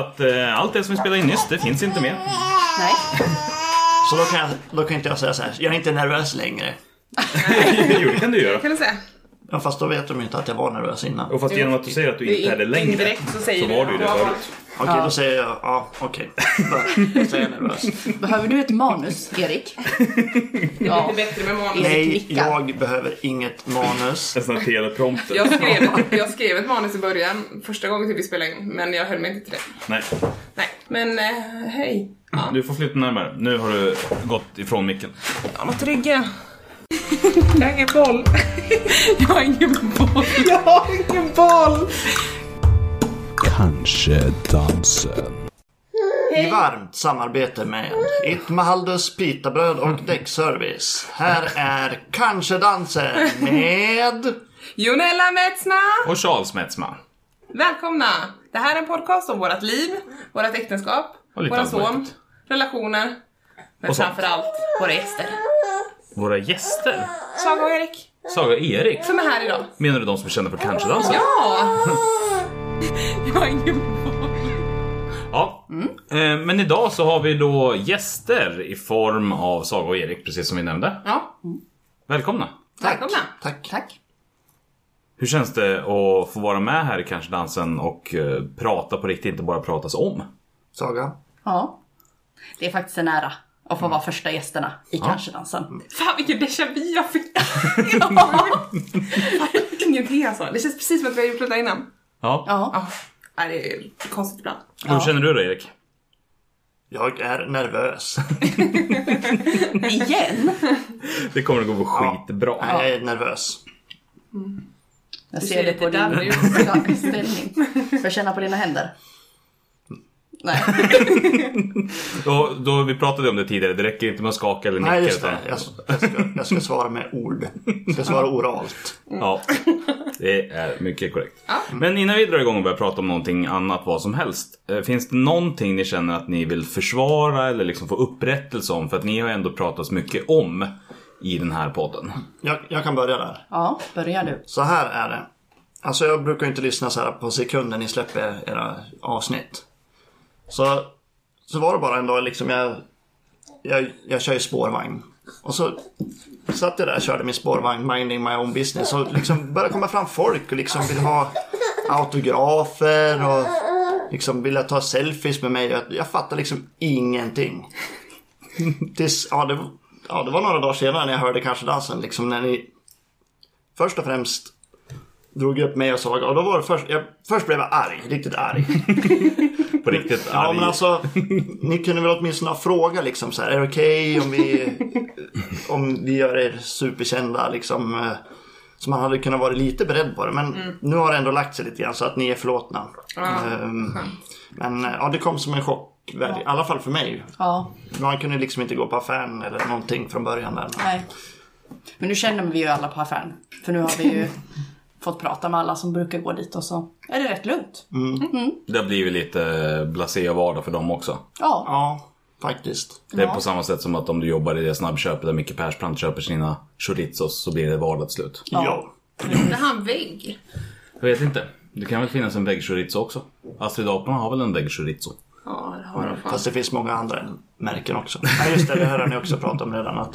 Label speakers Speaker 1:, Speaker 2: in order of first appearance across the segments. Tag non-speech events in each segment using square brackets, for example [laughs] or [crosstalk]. Speaker 1: Att eh, allt det som vi spelade in nyss, det finns inte med.
Speaker 2: Nej.
Speaker 3: Så då kan, jag, då kan inte jag säga så här, jag är inte nervös längre.
Speaker 1: [laughs] jo, det kan du göra.
Speaker 2: Kan du säga?
Speaker 3: Ja, fast då vet de ju inte att jag var nervös innan.
Speaker 1: Och fast genom att du säger att du inte är det längre,
Speaker 2: Indirekt så säger
Speaker 1: var du
Speaker 2: du
Speaker 1: ju det förut.
Speaker 3: Okej, då säger jag, ja okej. Då säger jag nervös.
Speaker 4: Behöver du ett manus, Erik?
Speaker 2: Ja.
Speaker 4: Ja.
Speaker 2: Lite bättre med manus.
Speaker 4: Erik
Speaker 3: Nej,
Speaker 4: nickar.
Speaker 3: jag behöver inget manus.
Speaker 1: En sån här teleprompter.
Speaker 2: Jag skrev, jag skrev ett manus i början, första gången till vi spelade in, men jag höll mig inte till det.
Speaker 1: Nej,
Speaker 2: Nej, men eh, hej. Ja,
Speaker 1: du får flytta närmare. Nu har du gått ifrån micken.
Speaker 2: jag var trygga. Jag har ingen boll. Jag har ingen boll. Jag har ingen boll.
Speaker 5: Kanske dansen.
Speaker 3: I varmt samarbete med Itmahaldus pitabröd och däckservice. Här är Kanske dansen med...
Speaker 2: Jonella Metsna,
Speaker 1: Och Charles Metzma.
Speaker 2: välkomna. Det här är en podcast om vårt liv, vårt äktenskap,
Speaker 1: Och lite
Speaker 2: våra
Speaker 1: allt
Speaker 2: son,
Speaker 1: möjligt.
Speaker 2: relationer, men
Speaker 1: Och sånt.
Speaker 2: framförallt våra gäster.
Speaker 1: Våra gäster.
Speaker 2: Saga och Erik,
Speaker 1: Saga och Erik.
Speaker 2: som är här idag.
Speaker 1: Menar du de som känner för kanske dansen?
Speaker 2: Ja! Jag har ingen boll.
Speaker 1: Ja.
Speaker 2: Mm.
Speaker 1: Eh, Men idag så har vi då gäster i form av Saga och Erik, precis som vi nämnde.
Speaker 2: Ja,
Speaker 1: Välkomna!
Speaker 3: Tack.
Speaker 2: Välkomna.
Speaker 3: Tack.
Speaker 4: Tack.
Speaker 1: Hur känns det att få vara med här i Kanske dansen och eh, prata på riktigt, inte bara pratas om?
Speaker 3: Saga.
Speaker 4: Ja. Det är faktiskt en ära att få vara första gästerna i Kanske dansen.
Speaker 2: Fan vilken déjà vu
Speaker 1: [laughs]
Speaker 2: jag fick! Ja. Ingenting alltså. Det känns precis som att vi har gjort detta innan.
Speaker 1: Ja.
Speaker 4: Ja.
Speaker 2: Ja, Nej, det är konstigt ibland.
Speaker 1: Hur känner du då Erik?
Speaker 3: Jag är nervös.
Speaker 4: Igen?
Speaker 1: Det kommer att gå skitbra.
Speaker 3: Nej, Jag är nervös.
Speaker 4: Jag
Speaker 2: Du
Speaker 4: ser det
Speaker 2: lite
Speaker 4: på
Speaker 2: darrig
Speaker 4: din [laughs]
Speaker 2: ut.
Speaker 4: ställning. Får jag känna på dina händer? Nej.
Speaker 1: Då, då, vi pratade om det tidigare, det räcker inte med att skaka eller nicka.
Speaker 3: Nej, just
Speaker 1: utan-
Speaker 3: det. Jag, jag, ska, jag ska svara med ord. Jag ska svara oralt.
Speaker 1: Ja, det är mycket korrekt. Men innan vi drar igång och börjar prata om någonting annat, vad som helst. eh, Finns det någonting ni känner att ni vill försvara eller liksom få upprättelse om? För att ni har ändå pratat mycket om i den här podden.
Speaker 3: Jag, jag kan börja där.
Speaker 4: Ja, börjar du.
Speaker 3: Så här är det. Alltså jag brukar inte lyssna så här på sekunden ni släpper era avsnitt. Så, så var det bara en dag liksom jag, jag, jag kör ju spårvagn. Och så satt jag där och körde min spårvagn, minding my own business. Och liksom började komma fram folk och liksom vill ha autografer och liksom ville ta selfies med mig. Jag, jag fattar liksom ingenting. Tills, ja, det, ja, det var några dagar senare när jag hörde Kanske dansen liksom när ni först och främst drog upp mig och Saga och då var det först, jag, först blev jag arg, riktigt arg.
Speaker 1: På riktigt
Speaker 3: Ja
Speaker 1: arg.
Speaker 3: men alltså, ni kunde väl åtminstone ha frågat liksom så här, är det okej om vi, om vi gör er superkända liksom? eh, Så man hade kunnat vara lite beredd på det men nu har det ändå lagt sig lite grann så att ni är förlåtna. Ehm, men eh, ja, det kom som en chock, i alla fall för mig.
Speaker 4: Ja,
Speaker 3: Man kunde liksom inte gå på affären eller någonting från början där.
Speaker 4: nej. Men nu känner vi ju alla på affären. För nu har vi ju fått prata med alla som brukar gå dit och så är det rätt lugnt.
Speaker 1: Det har blivit lite blasé och vardag för dem också.
Speaker 4: Ja,
Speaker 3: Ja, faktiskt.
Speaker 1: Det är på samma sätt som att om du jobbar i det snabbköpet där Micke Persbrandt köper sina chorizos så blir det vardag till slut.
Speaker 3: Ja.
Speaker 2: Det här är en vägg.
Speaker 1: Jag vet inte. Det kan väl finnas en väggchorizo också? Astrid Aporna har väl en väggchorizo?
Speaker 2: Ja, det har de fan.
Speaker 3: Fast det finns många andra märken också. Nej just det, det här har ni också pratat om redan. Att,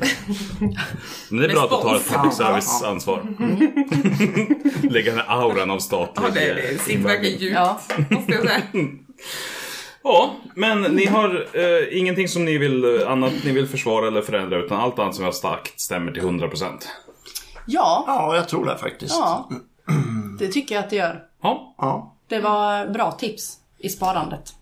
Speaker 1: Men det är bra att du tar ett
Speaker 2: Respons.
Speaker 1: public service-ansvar. [laughs] Lägga den här auran av statlig... eh,
Speaker 2: Mm. Ja, det, det sitter verkligen djupt,
Speaker 4: Ja.
Speaker 2: måste jag säga.
Speaker 1: Ja, men ni har eh, ingenting som ni vill, eh, annat ni vill försvara eller förändra utan allt annat som jag har starkt stämmer till 100%.
Speaker 4: ja,
Speaker 3: ja, jag tror det faktiskt.
Speaker 4: ja. Det tycker jag att det gör.
Speaker 1: Ja.
Speaker 3: Ja.
Speaker 4: Det var bra tips i sparandet.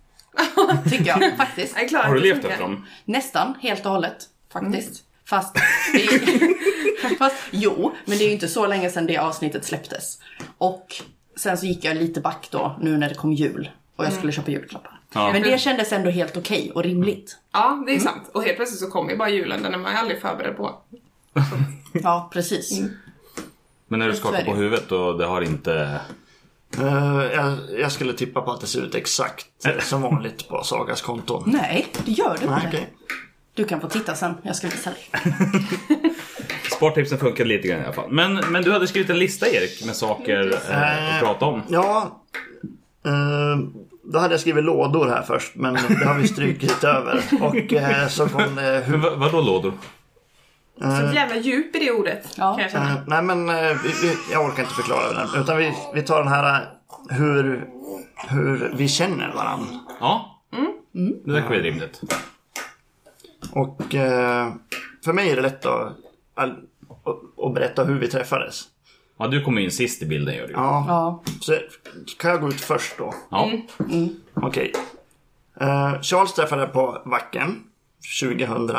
Speaker 4: Tycker jag faktiskt.
Speaker 2: Jag är klar
Speaker 1: Har du
Speaker 2: att det
Speaker 1: levt
Speaker 2: funkar.
Speaker 1: efter dem?
Speaker 4: Nästan helt och hållet faktiskt. Fast, det [laughs] fast jo, men det är ju inte så länge sedan det avsnittet släpptes. Och sen så gick jag lite back då nu när det kom jul och jag skulle köpa julklappar. Men det kändes ändå helt okej och rimligt.
Speaker 2: Ja, det är sant. Och helt plötsligt så kommer ju bara julen, den är man ju aldrig förberedd på.
Speaker 3: Mm.
Speaker 4: Ja, precis.
Speaker 1: Men när du skakar
Speaker 4: är det.
Speaker 1: på huvudet och det har inte...
Speaker 3: Eh, jag, jag skulle tippa på att det ser ut exakt eh, som vanligt på Sagas konton.
Speaker 4: Nej, det gör du
Speaker 3: Nej,
Speaker 4: inte.
Speaker 3: okej.
Speaker 4: Du kan få titta sen. Jag ska visa dig.
Speaker 1: Spartipsen funkar lite grann i alla fall. Men, men du hade skrivit en lista Erik med saker eh, att prata om.
Speaker 3: Ja. eh, Då hade jag skrivit lådor här först, men det har vi strykit [laughs] över. Och eh, så kom det...
Speaker 1: Men
Speaker 3: Hur,
Speaker 1: vad, vadå lådor?
Speaker 2: Så jävla djup i det ordet.
Speaker 4: Ja.
Speaker 2: Kan jag
Speaker 3: eh,
Speaker 2: känna.
Speaker 3: nej men, eh, vi, vi, jag orkar inte förklara den. Utan vi, vi tar den här eh, hur, hur vi känner varandra.
Speaker 1: Ja. Mm. Det verkar väl rimligt.
Speaker 3: Och eh, för mig är det lätt att, all- att, att berätta hur vi träffades.
Speaker 1: Ja, du kommer in sist i bilden gör du ju.
Speaker 3: Ja,
Speaker 4: Ja.
Speaker 3: Så kan jag gå ut först då? Mm.
Speaker 1: Ja.
Speaker 4: Mm.
Speaker 3: Okej. Eh, Charles träffade jag på Wacken 2010.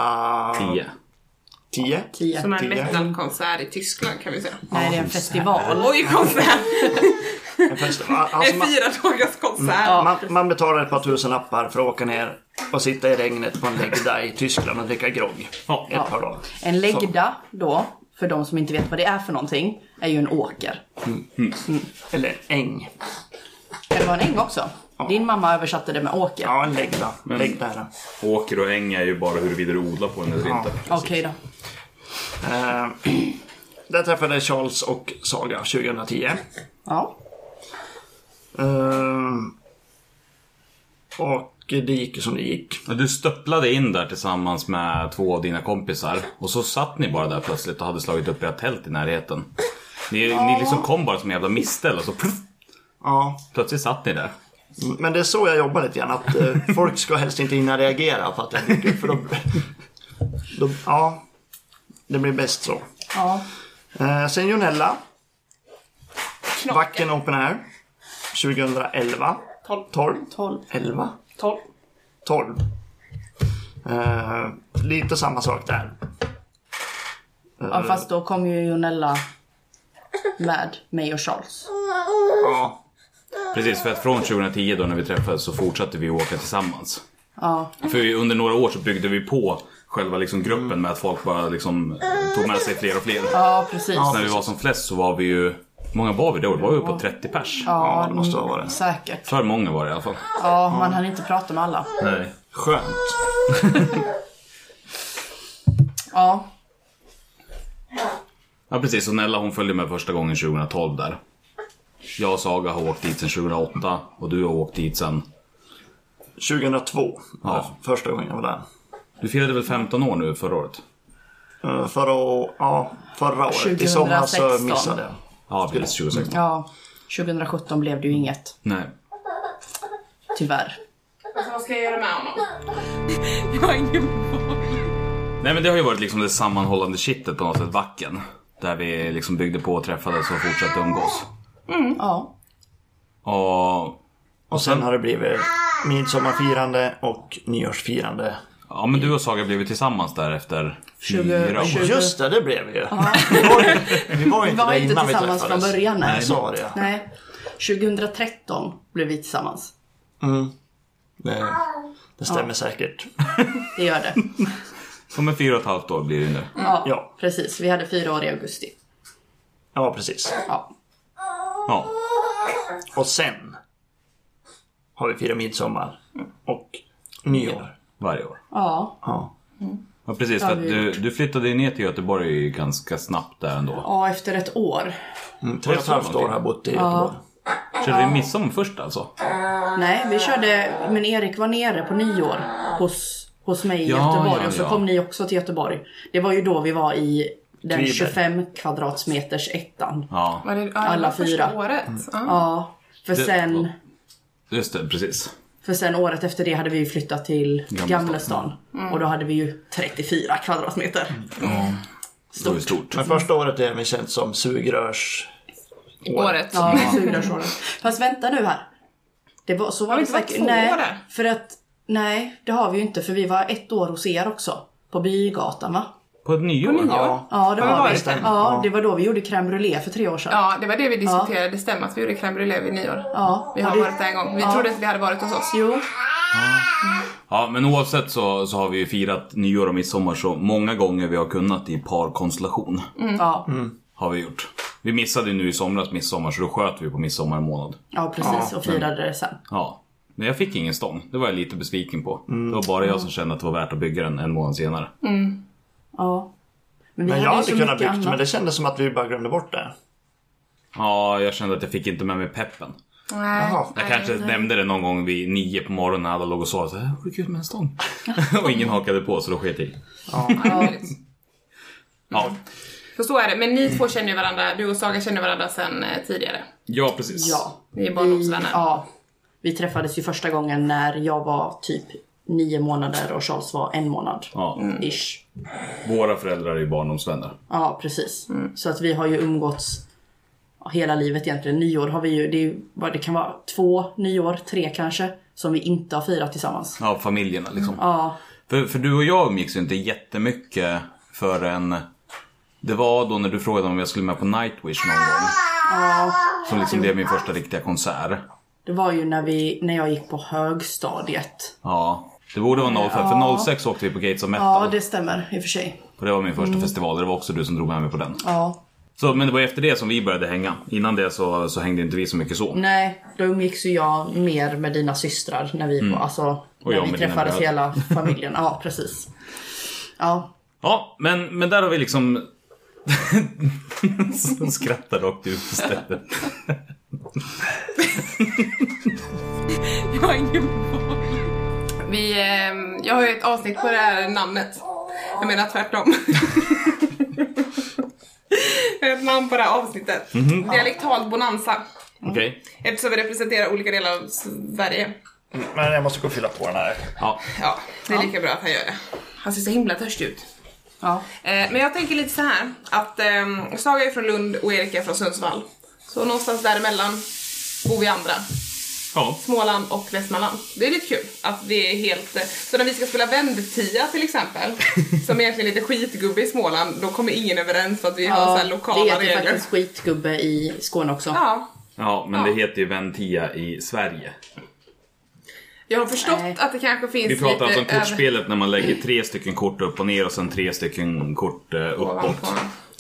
Speaker 1: Tio.
Speaker 4: Tio.
Speaker 2: Som en
Speaker 3: tio.
Speaker 2: metalkonsert i Tyskland kan vi säga.
Speaker 4: Nej, det är en festival.
Speaker 2: Oj, konsert!
Speaker 3: En festival. Alltså,
Speaker 4: [laughs]
Speaker 2: En
Speaker 3: man,
Speaker 2: fyra dagars konsert.
Speaker 3: man, man betalar ett par tusen appar för att åka ner och sitta i regnet på en läggda i Tyskland och dricka grogg.
Speaker 1: Ja.
Speaker 3: Ett par dagar.
Speaker 4: En läggda då, för de som inte vet vad det är för någonting, är ju en åker.
Speaker 3: Eller en äng.
Speaker 4: Kan det vara en äng också? Din mamma översatte det med åker.
Speaker 3: Ja, en läggda.
Speaker 1: Mm.
Speaker 3: läggda är det.
Speaker 1: Åker och äng är ju bara huruvida du odlar på den eller inte.
Speaker 4: Okej då.
Speaker 3: Eh, [clears throat] där träffade jag Charles och Saga 2010.
Speaker 4: Ja.
Speaker 3: Ehm, och det gick ju som det gick.
Speaker 1: Ja, Du stöpplade in där tillsammans med två av dina kompisar och så satt ni bara där plötsligt och hade slagit upp era tält i närheten. Ni, ni liksom kom bara som en jävla mistel och så pluff,
Speaker 3: Ja,
Speaker 1: plötsligt satt ni där.
Speaker 3: men det är så jag jobbar lite grann. Att eh, folk ska helst inte hinna reagera på att jag dyker upp, för då, då, Ja, det blir bäst så.
Speaker 4: ja.
Speaker 3: Eh, sen Jonella. Vacken Open Air. 2011.
Speaker 2: 12.
Speaker 3: 12.
Speaker 4: 12.
Speaker 3: 11.
Speaker 2: 12.
Speaker 3: 12. Eh, lite samma sak där.
Speaker 4: ja, fast då kom ju Jonella med mig och Charles.
Speaker 3: Ja,
Speaker 1: Precis, för att från 2010 då när vi träffades så fortsatte vi åka tillsammans.
Speaker 4: Ja.
Speaker 1: För vi- under några år så byggde vi på själva liksom gruppen med att folk bara liksom eh, tog med sig fler och fler.
Speaker 4: Ja, precis.
Speaker 1: När vi var som flest så var vi ju, hur många var vi då? Det var vi på 30 pers.
Speaker 3: ja, det måste ha varit.
Speaker 4: Säkert.
Speaker 1: För många var det i alla fall.
Speaker 4: Ja, man hann inte prata med alla.
Speaker 1: Nej.
Speaker 3: Skönt.
Speaker 4: Ja.
Speaker 1: Ja precis, och Nella hon följde med första gången 2012 där. Jag och Saga har åkt dit sedan 2008 och du har åkt dit sen...
Speaker 3: 2002 var
Speaker 1: Ja.
Speaker 3: eh, första gången jag var där.
Speaker 1: Du firade väl 15 år nu förra året?
Speaker 3: Eh, Förra, å- ja, förra året. I
Speaker 4: 2016.
Speaker 3: sommar så missade jag.
Speaker 1: Ja precis, 2016.
Speaker 4: ja. 2017 blev det ju inget,
Speaker 1: Nej.
Speaker 4: tyvärr.
Speaker 2: Alltså vad ska jag göra med honom? Jag har ingen boll.
Speaker 1: Nej men det har ju varit liksom det sammanhållande kittet på något sätt, Vacken. Där vi liksom byggde på och träffades och fortsatte umgås.
Speaker 4: Ja.
Speaker 1: Och...
Speaker 3: Och sen har det blivit midsommarfirande och nyårsfirande.
Speaker 1: Ja men du och Saga blev ju tillsammans där efter
Speaker 4: Tjugo-
Speaker 1: fyra år.
Speaker 4: tjugo-
Speaker 3: Just det, det blev vi ju. Vi var ju- Vi var
Speaker 4: Vi
Speaker 3: ju inte
Speaker 4: var
Speaker 3: där
Speaker 4: inte
Speaker 3: innan vi
Speaker 4: tillsammans
Speaker 3: träffades.
Speaker 4: från början.
Speaker 3: Nej,
Speaker 4: Nej.
Speaker 3: så var det ja.
Speaker 4: Nej. 2013 blev vi tillsammans.
Speaker 3: Det, det stämmer säkert.
Speaker 4: Det gör det.
Speaker 1: Som en fyra och ett halvt år blir det nu.
Speaker 4: Ja,
Speaker 3: Ja.
Speaker 4: precis. Vi hade fyra år i augusti.
Speaker 3: Ja, precis.
Speaker 4: Ja.
Speaker 1: Ja.
Speaker 3: Och sen har vi firat midsommar och nyår.
Speaker 1: Varje år.
Speaker 4: Ja.
Speaker 3: Ja.
Speaker 1: Ja precis, för att du, du flyttade ju ner till Göteborg ganska snabbt där ändå.
Speaker 4: ja, efter ett år.
Speaker 3: Tre och ett halvt år har jag bott i Göteborg.
Speaker 1: Körde vi midsommar först alltså?
Speaker 4: Nej, vi körde, men Erik var nere på nyår hos, hos mig i
Speaker 1: Ja,
Speaker 4: Göteborg
Speaker 1: ja,
Speaker 4: och så
Speaker 1: ja.
Speaker 4: kom ni också till Göteborg. Det var ju då vi var i den
Speaker 3: Kviberg.
Speaker 4: 25 kvadratmeters ettan.
Speaker 1: Ja.
Speaker 2: Var det, ja,
Speaker 4: Alla
Speaker 2: det var första
Speaker 4: fyra.
Speaker 2: året? Ja.
Speaker 4: Ja, för
Speaker 1: Det-
Speaker 4: sen,
Speaker 1: ja. Just det, precis.
Speaker 4: för sen året efter det hade vi ju flyttat till
Speaker 1: Gamla
Speaker 4: Gamla stan.
Speaker 2: Mm.
Speaker 4: Och då hade vi ju 34 kvadratmeter.
Speaker 1: Det var ju stort.
Speaker 3: Men första året är även känt som sugrörs...
Speaker 2: Året.
Speaker 4: [laughs] Ja, sugrörsåren. Fast vänta nu här. Det var, så var
Speaker 2: Har
Speaker 4: det
Speaker 2: vi
Speaker 4: inte
Speaker 2: inte varit
Speaker 4: säkert- nej,
Speaker 2: två år där?
Speaker 4: för att, nej, det har vi ju inte för vi var ett år hos er också. På Bygatan va?
Speaker 1: På ett nyår?
Speaker 3: Ja.
Speaker 4: Ja, det
Speaker 2: Har vi
Speaker 4: var vi.
Speaker 2: varit där?
Speaker 4: Ja, det var då vi gjorde crème brûlée för tre år sedan.
Speaker 2: Ja, det var det vi diskuterade. Det stämmer att vi gjorde crème brûlée vid nyår.
Speaker 4: Ja.
Speaker 2: Vi har
Speaker 4: du-
Speaker 2: varit där en gång. Vi trodde att vi hade varit hos oss.
Speaker 4: Jo,
Speaker 1: Ja, men oavsett så, så har vi ju firat nyår och midsommar så många gånger vi har kunnat i parkonstellation.
Speaker 4: ja.
Speaker 3: Mm.
Speaker 1: Har vi gjort. Vi missade ju nu i somras midsommar så då sköt vi på midsommar månad.
Speaker 4: ja, precis. och firade det sen.
Speaker 1: Ja. Men jag fick ingen stång. Det var jag lite besviken på. Det var bara jag som kände att det var värt att bygga den en månad senare.
Speaker 4: Ja. vi
Speaker 3: Men jag
Speaker 4: ju
Speaker 3: hade
Speaker 4: så
Speaker 3: kunnat
Speaker 4: mycket
Speaker 3: byggt,
Speaker 4: annat.
Speaker 3: men det kändes som att vi bara glömde bort det.
Speaker 1: Ja, jag kände att jag fick inte med mig peppen.
Speaker 2: Nej.
Speaker 3: Jaha.
Speaker 1: Jag kanske nämnde det någon gång vid nio på morgonen när alla låg och sov. Så här, vore kul med en
Speaker 4: [laughs]
Speaker 1: stång. och ingen hakade på så då sket jag i.
Speaker 2: Ja.
Speaker 1: Ja.
Speaker 2: För så är det. Men ni två känner ju varandra, du och Saga känner varandra sedan eh, tidigare.
Speaker 1: ja, precis.
Speaker 4: Ja.
Speaker 2: Ni är
Speaker 4: Vi,
Speaker 2: barndomsvänner.
Speaker 4: Mm, ja, vi träffades ju första gången när jag var typ nio månader och Charles var en månad. Mm.
Speaker 1: Ja.
Speaker 4: Ish.
Speaker 1: Våra föräldrar är ju barndomsvänner.
Speaker 4: Ja, precis. Så att vi har ju umgåtts hela livet egentligen. Nyår har vi ju, det, är, ju vad det kan vara två nyår, tre kanske, som vi inte har firat tillsammans.
Speaker 1: Ja, familjerna liksom.
Speaker 4: Ja,
Speaker 1: För, för du och jag umgicks ju inte jättemycket förrän... Det var då när du frågade om jag skulle med på Nightwish någon gång. Som liksom blev min första riktiga konsert.
Speaker 4: det var ju när, vi, när jag gick på högstadiet.
Speaker 1: Ja. Det borde vara 05, för 06 åkte vi på Gates of Metal.
Speaker 4: Ja, det Mm. stämmer i och för sig.
Speaker 1: Och det var min första festival, det var också du som drog med mig på den.
Speaker 4: Ja.
Speaker 1: Så, men det var efter det som vi började hänga. Innan det så, så hängde inte vi så mycket så.
Speaker 4: Nej, då umgicks ju jag mer med dina systrar när vi, alltså, när
Speaker 1: Mm. jag
Speaker 4: vi
Speaker 1: med dina
Speaker 4: träffades
Speaker 1: bröder. [laughs]
Speaker 4: hela familjen. Ja, precis. Ja,
Speaker 1: Ja, men, men där har vi liksom... [laughs] som skrattar rakt ut istället.
Speaker 2: Jag har ingen boll. Vi, ehm, jag har ju ett avsnitt på det här namnet. Jag menar tvärtom. jag har ett namn på det här avsnittet. Dialektalt bonanza.
Speaker 1: Okej.
Speaker 2: Eftersom vi representerar olika delar av Sverige.
Speaker 3: Mm, Men jag måste gå och fylla på den här.
Speaker 1: Ja.
Speaker 2: Ja, det är lika bra att han gör det. Han ser så himla törstig ut.
Speaker 4: ja.
Speaker 2: Eh, men jag tänker lite så här att ehm, Saga är från Lund och Erik är från Sundsvall. Så någonstans däremellan bor vi andra.
Speaker 1: ja.
Speaker 2: Småland och Västmanland. Det är lite kul att vi är helt... eh, Så när vi ska spela vändtia
Speaker 3: [laughs]
Speaker 2: till exempel, som egentligen är lite skitgubbe i Småland, då kommer ingen överens för att vi har så här
Speaker 4: det
Speaker 2: lokala
Speaker 4: heter
Speaker 2: regler.
Speaker 4: faktiskt skitgubbe i Skåne också.
Speaker 2: Ja,
Speaker 1: Ja, men
Speaker 2: Ja.
Speaker 1: det heter ju Ventia i Sverige.
Speaker 2: jag har förstått
Speaker 4: Nej.
Speaker 2: att det kanske finns
Speaker 1: Vi pratar alltså om
Speaker 2: lite... över-
Speaker 1: kortspelet när man lägger tre stycken kort upp och ner och sen tre stycken kort eh, uppåt.
Speaker 2: Ovanpå.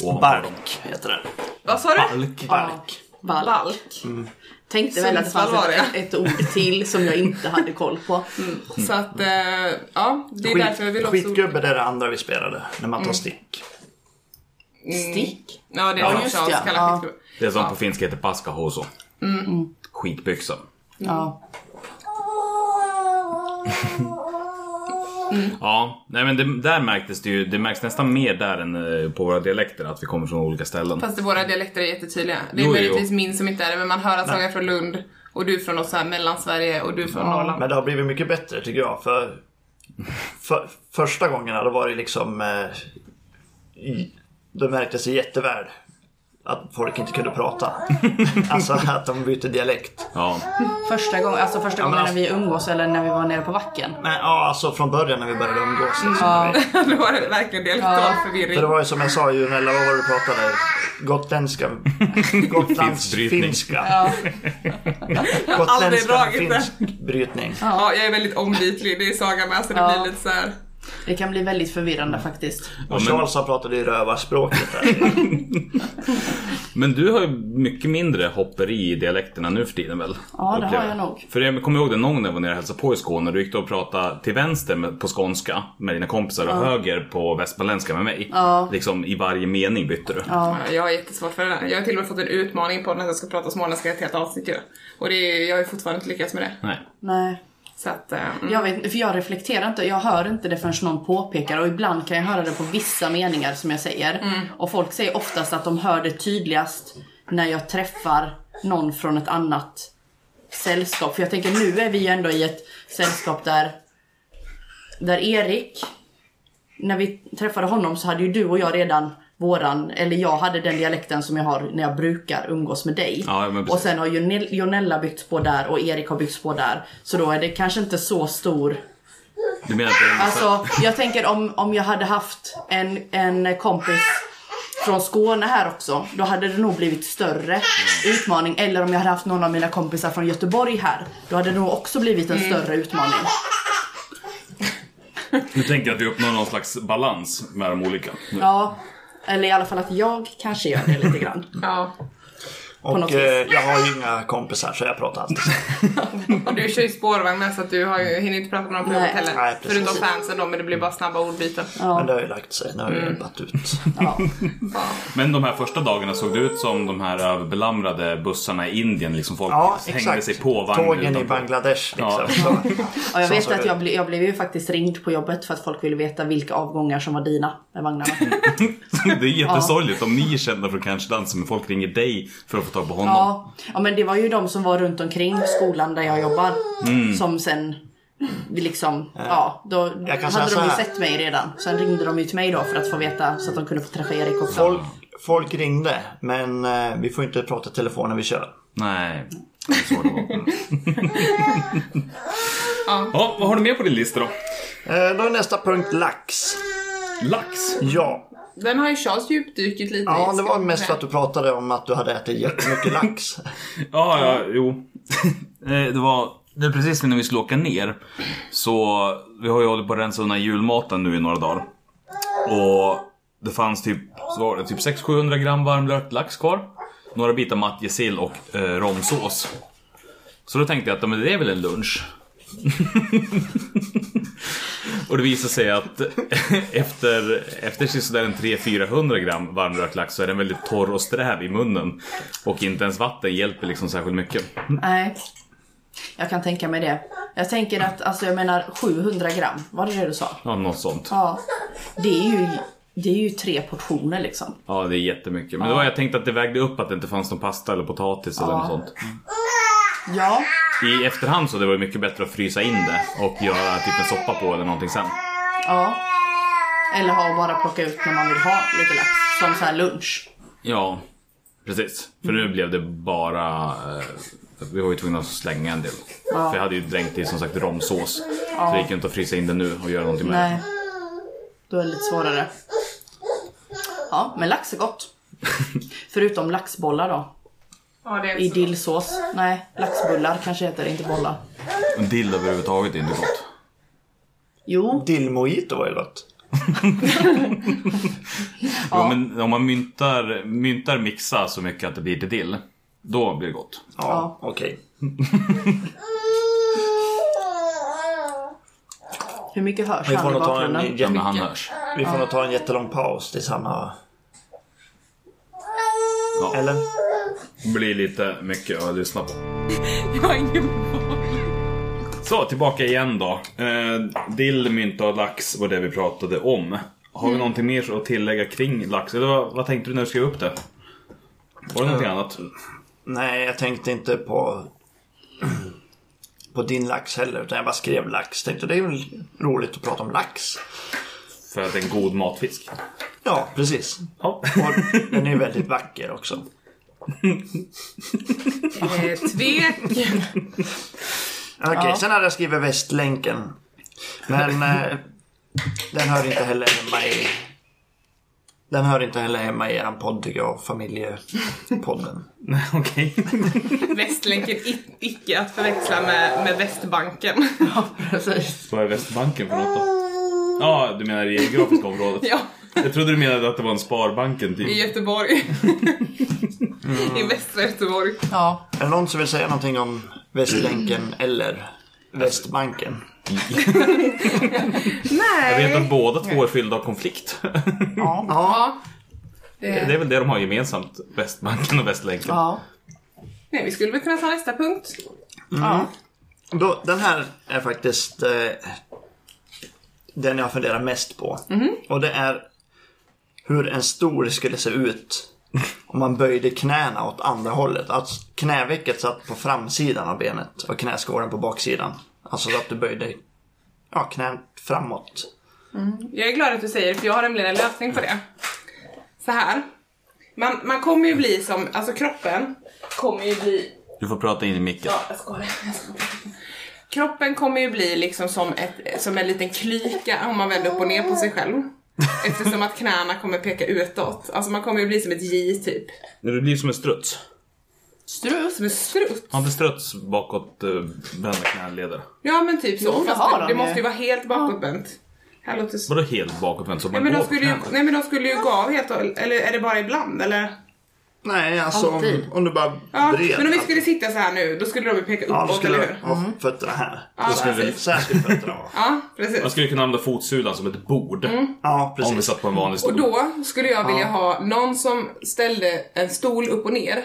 Speaker 1: Ovanpå dem.
Speaker 3: Bark heter den.
Speaker 2: Vad sa du?
Speaker 1: Balk.
Speaker 4: Balk. Balk.
Speaker 2: Balk.
Speaker 4: Tänkte väl att det
Speaker 2: Sundsvall
Speaker 4: fanns
Speaker 2: var Mm.
Speaker 4: ett, ett ord till som jag inte hade koll på.
Speaker 1: Mm.
Speaker 2: Så att, eh, ja, det är därför vi vill
Speaker 3: Skit,
Speaker 2: också...
Speaker 3: skitgubbe det är det andra vi spelade, när man tar stick.
Speaker 2: Mm.
Speaker 4: Stick.
Speaker 2: Ja, det är ja,
Speaker 4: just ja.
Speaker 2: också ja. kallat
Speaker 4: Ja.
Speaker 2: skitgubbe.
Speaker 1: Det som på finska heter paskahoso.
Speaker 2: Mm.
Speaker 1: Skitbyxa.
Speaker 4: Ja.
Speaker 1: Ja, nej men det, där märktes det ju. Det märks nästan mer där än eh, på våra dialekter att vi kommer från olika ställen.
Speaker 2: Fast våra dialekter är jättetydliga. Det
Speaker 1: Jo, jo,
Speaker 2: är
Speaker 1: jo.
Speaker 2: möjligtvis min som inte är det, men man hör att Saga är från Lund och du är från något så här mellansverige och du är från Norrland.
Speaker 3: Men det har blivit mycket bättre tycker jag. För, för första gångerna då var det liksom... Eh, i- då märktes det jätteväl att folk inte kunde prata. alltså att de byter dialekt.
Speaker 1: Ja.
Speaker 4: Första gången, alltså första gången
Speaker 3: alltså-
Speaker 4: när vi umgås eller när vi var nere på vacken.
Speaker 3: Nej, ja, alltså från början när vi började umgås. Liksom, när vi,
Speaker 2: [laughs] Då var det verkligen dialektal förvirring.
Speaker 3: För det var ju som jag sa ju, eller vad var det du pratade?
Speaker 1: [laughs]
Speaker 3: Gotländska. Gotlands
Speaker 1: Finsk brytning.
Speaker 3: finska.
Speaker 4: Ja.
Speaker 2: aldrig
Speaker 3: Gotländska
Speaker 2: dragit det.
Speaker 3: finsk brytning.
Speaker 2: Ja, jag är väldigt ombytlig. Det är Saga med så det
Speaker 4: Ja.
Speaker 2: blir lite så här.
Speaker 4: Det kan bli väldigt förvirrande faktiskt.
Speaker 1: Ja,
Speaker 3: Och
Speaker 1: men,
Speaker 3: Charles han pratade ju rövarspråket där.
Speaker 1: men du har ju mycket mindre hopperi i dialekterna nu för tiden väl?
Speaker 4: Ja, det
Speaker 1: Upplever
Speaker 4: har jag nog.
Speaker 1: För jag kommer ihåg det någon gång när jag var nere och hälsade på i Skåne. Du gick då och pratade till vänster med, på skånska med dina kompisar och höger på västmanländska med mig. Liksom i varje mening bytte du.
Speaker 2: Ja, Jag har jättesvårt för det där. Jag har till och med fått en utmaning på när jag ska prata småländska i ett helt avsnitt ju. Och det är, jag har ju fortfarande inte lyckats med det.
Speaker 1: Nej.
Speaker 4: Nej.
Speaker 2: Så att, eh, mm.
Speaker 4: Jag, vet, för jag reflekterar inte, jag hör inte det förrän någon påpekar och ibland kan jag höra det på vissa meningar som jag säger. Och folk säger oftast att de hör det tydligast när jag träffar någon från ett annat sällskap. För jag tänker nu är vi ju ändå i ett sällskap där, där Erik, när vi träffade honom så hade ju du och jag redan våran, eller jag hade den dialekten som jag har när jag brukar umgås med dig.
Speaker 1: Ja, men precis.
Speaker 4: och sen har Jonel- Jonella byggts på där och Erik har byggts på där. Så då är det kanske inte så stor
Speaker 1: Du menar att det är
Speaker 4: Alltså jag tänker om, om jag hade haft en, en kompis från Skåne här också, då hade det nog blivit större utmaning. Eller om jag hade haft någon av mina kompisar från Göteborg här, då hade det nog också blivit en större utmaning.
Speaker 1: Du tänker att vi uppnår någon slags balans med de olika?
Speaker 4: Ja, eller i alla fall att jag kanske gör det lite grann.
Speaker 2: ja.
Speaker 4: något
Speaker 3: Och
Speaker 4: vis.
Speaker 3: eh, jag har ju inga kompisar så jag pratar alltid.
Speaker 2: Och du kör ju spårvagn med så att du har ju, hinner inte prata med dem på jobbet
Speaker 4: Nej.
Speaker 2: heller.
Speaker 3: Nej, precis.
Speaker 2: Förutom fansen då, men det blir bara snabba ordbyten.
Speaker 3: Men det har ju lagt sig. Nu har jag
Speaker 4: Mm. [laughs]
Speaker 3: hjälpt ut.
Speaker 4: Ja.
Speaker 1: Men de här första dagarna såg det ut som de här överbelamrade bussarna i Indien. Liksom folk
Speaker 3: Ja,
Speaker 1: hängde
Speaker 3: exakt.
Speaker 1: sig på vagnen.
Speaker 3: Tågen i
Speaker 1: utanför.
Speaker 3: Bangladesh liksom.
Speaker 1: Ja.
Speaker 3: Så.
Speaker 4: Ja, jag
Speaker 3: Så
Speaker 4: vet
Speaker 3: så är
Speaker 4: att
Speaker 3: det.
Speaker 4: jag, ble, jag blev ju faktiskt ringd på jobbet för att folk ville veta vilka avgångar som var dina med vagnarna.
Speaker 1: [laughs] Det är jättesorgligt om ni är kända för kanske dansa men folk ringer dig för att få tag på honom.
Speaker 4: Ja. ja, men det var ju de som var runt omkring skolan där jag jobbar
Speaker 3: Mm.
Speaker 4: som sen liksom, ja, då
Speaker 3: Jag
Speaker 4: hade
Speaker 3: kan säga
Speaker 4: de ju
Speaker 3: så här.
Speaker 4: sett mig redan. Sen ringde de ju till mig då för att få veta så att de kunde få träffa Erik också.
Speaker 3: Folk, folk ringde men eh, vi får inte prata i telefon när vi kör.
Speaker 1: Nej. det är så det var.
Speaker 2: Ja.
Speaker 1: [laughs] ja, vad har du mer på din lista då?
Speaker 3: Eh, Då är nästa punkt lax.
Speaker 1: Lax.
Speaker 3: Ja,
Speaker 2: Den har ju Charles djupdykt lite
Speaker 3: ja
Speaker 2: i.
Speaker 3: det var mest för att du pratade om att du hade ätit jättemycket lax.
Speaker 1: Ja, ja, jo. [laughs] Eh, det var det är precis när vi skulle åka ner. Så vi har ju hållit på att rensa undan julmaten nu i några dagar. Och det fanns typ, så var det typ 600-700 gram varmrökt lax kvar. Några bitar matjessill och eh, romsås. Så då tänkte jag att ja, men det är väl en lunch. och det visade sig att [laughs] efter, efter sådär en 300-400 gram varmrökt lax så är den väldigt torr och sträv i munnen. Och inte ens vatten hjälper liksom särskilt mycket.
Speaker 4: Nej, jag kan tänka mig det. Jag tänker att, alltså jag menar 700 gram, var det det du sa?
Speaker 1: Ja, något sånt.
Speaker 4: Ja, det är ju, det är ju tre portioner liksom.
Speaker 1: Ja, det är jättemycket. Men då har jag tänkt att det vägde upp att det inte fanns någon pasta eller potatis eller
Speaker 4: Ja.
Speaker 1: något sånt.
Speaker 4: Ja,
Speaker 1: I efterhand så hade det varit mycket bättre att frysa in det och göra typ en soppa på eller någonting sen.
Speaker 4: ja. Eller ha och bara plocka ut när man vill ha lite lax, som så här lunch.
Speaker 1: Ja, precis. För nu blev det bara... eh, Vi var ju tvungna att slänga en del. För jag hade ju dränkt i som sagt romsås. Så det gick ju inte att frysa in det nu och göra någonting med
Speaker 4: Nej. Då är det lite svårare. Ja, men lax är
Speaker 3: [laughs]
Speaker 4: gott. Förutom laxbollar då.
Speaker 2: Ja, det är
Speaker 4: I
Speaker 2: inte så gott.
Speaker 4: dillsås. Nej, laxbullar kanske heter det, inte bollar.
Speaker 1: det. En dill överhuvudtaget är inte gott.
Speaker 4: Jo,
Speaker 3: Dillmojito var ju gott.
Speaker 1: Jo, men om man myntar, myntar mixa så mycket att det blir till dill. Då blir det gott.
Speaker 3: Ja,
Speaker 4: Ja.
Speaker 3: okej.
Speaker 4: hur mycket hörs
Speaker 3: Vi får
Speaker 4: han i
Speaker 3: nog ta en,
Speaker 4: bakgrunden?
Speaker 1: Ja, men
Speaker 3: jätte-
Speaker 1: han hörs.
Speaker 3: vi får nog ta en jättelång paus till samma...
Speaker 1: Ja.
Speaker 3: Eller?
Speaker 1: Det blir lite mycket att lyssna på.
Speaker 2: [laughs] Jag har ingen boll.
Speaker 1: Så, tillbaka igen då. Eh, dill, mynta och lax var det vi pratade om. Har
Speaker 2: Mm.
Speaker 1: vi någonting mer att tillägga kring lax? Eller vad, vad tänkte du när du skrev upp det? Var det
Speaker 2: Eh.
Speaker 1: någonting annat?
Speaker 3: Nej, jag tänkte inte på... [clears throat] på din lax heller, utan jag bara skrev lax. Tänkte det är väl roligt att prata om lax.
Speaker 1: För att det är en god matfisk.
Speaker 3: Ja, precis.
Speaker 1: Ja.
Speaker 3: Och den är ju väldigt vacker också.
Speaker 2: Eh, tvek. [laughs]
Speaker 3: Okej,
Speaker 4: Ja.
Speaker 3: sen hade jag skrivit Västlänken. Men eh, den hör inte heller hemma i... Den hör inte heller hemma i eran podd tycker jag, familjepodden.
Speaker 1: [laughs] Nej, Okej.
Speaker 2: Västlänken i- icke att förväxla med, med Västbanken.
Speaker 4: Ja, precis.
Speaker 1: Vad är Västbanken för något då? Ja, du menar det geografiska området?
Speaker 2: [laughs] [laughs] Ja,
Speaker 1: Jag trodde du menade att det var en Sparbanken
Speaker 2: i
Speaker 1: typ.
Speaker 2: Göteborg. [laughs]
Speaker 3: Mm.
Speaker 2: I västra Göteborg.
Speaker 4: Ja,
Speaker 3: Är det någon som vill säga någonting om Västlänken eller Västbanken?
Speaker 1: Jag vet att
Speaker 2: Nej.
Speaker 1: båda två är fyllda av
Speaker 2: [laughs]
Speaker 1: konflikt.
Speaker 4: ja,
Speaker 2: Ja. Eh,
Speaker 1: Det är väl det de har gemensamt, Västbanken och Västlänken.
Speaker 4: ja.
Speaker 2: Nej, vi skulle väl kunna ta nästa punkt.
Speaker 4: ja.
Speaker 3: Då, den här är faktiskt eh, den jag funderar mest på.
Speaker 2: Mhm.
Speaker 3: Och det är hur en stol skulle se ut om man böjde knäna åt andra hållet. Att knävecket satt på framsidan av benet och knäskålen på baksidan. Alltså så att du böjde ja, knän framåt.
Speaker 2: Jag är glad att du säger det för jag har nämligen en lösning på det. Så här. Man, man kommer ju bli som, alltså kroppen kommer ju bli
Speaker 1: Du får prata in i micken.
Speaker 2: Ja, jag ska ha det. Jag ska ha det. Kroppen kommer ju bli liksom som, ett, som en liten klyka om man vänder upp och ner på sig själv. Eftersom att knäna kommer peka utåt. Alltså man kommer ju bli som ett J typ.
Speaker 1: Du blir som en struts.
Speaker 2: Strut? Som en strut?
Speaker 1: Har inte struts bakåt eh, vända knäleder?
Speaker 2: Ja men typ så.
Speaker 4: Jo, det
Speaker 2: Fast
Speaker 4: har
Speaker 2: det,
Speaker 4: de
Speaker 2: det
Speaker 4: ju.
Speaker 2: måste ju vara helt bakåtvänt. Här låter så...
Speaker 1: Vadå helt bakåtvänt? Så man
Speaker 2: Nej men,
Speaker 1: går
Speaker 2: de
Speaker 1: på
Speaker 2: skulle ju,
Speaker 1: knäna?
Speaker 2: nej men de skulle ju gå av helt och- eller är det bara ibland eller?
Speaker 3: Nej, alltså om,
Speaker 4: Alltid.
Speaker 3: om du bara
Speaker 2: Ja,
Speaker 3: vred. alltså.
Speaker 2: men om vi skulle sitta så här nu, då skulle de ju peka
Speaker 3: Ja,
Speaker 2: uppåt,
Speaker 3: då skulle
Speaker 2: eller
Speaker 3: du
Speaker 2: hur?
Speaker 3: ha fötterna här.
Speaker 2: Ja,
Speaker 3: Så skulle- Alltså,
Speaker 2: precis.
Speaker 3: så här skulle fötterna vara.
Speaker 2: Ja, precis.
Speaker 1: Man skulle kunna använda fotsulan som ett bord.
Speaker 3: Ja,
Speaker 1: Om vi
Speaker 3: precis.
Speaker 1: satt på en vanlig
Speaker 2: Mm. Och
Speaker 1: stol. Alltså,
Speaker 2: då skulle jag vilja ha någon som ställde en stol upp och ner.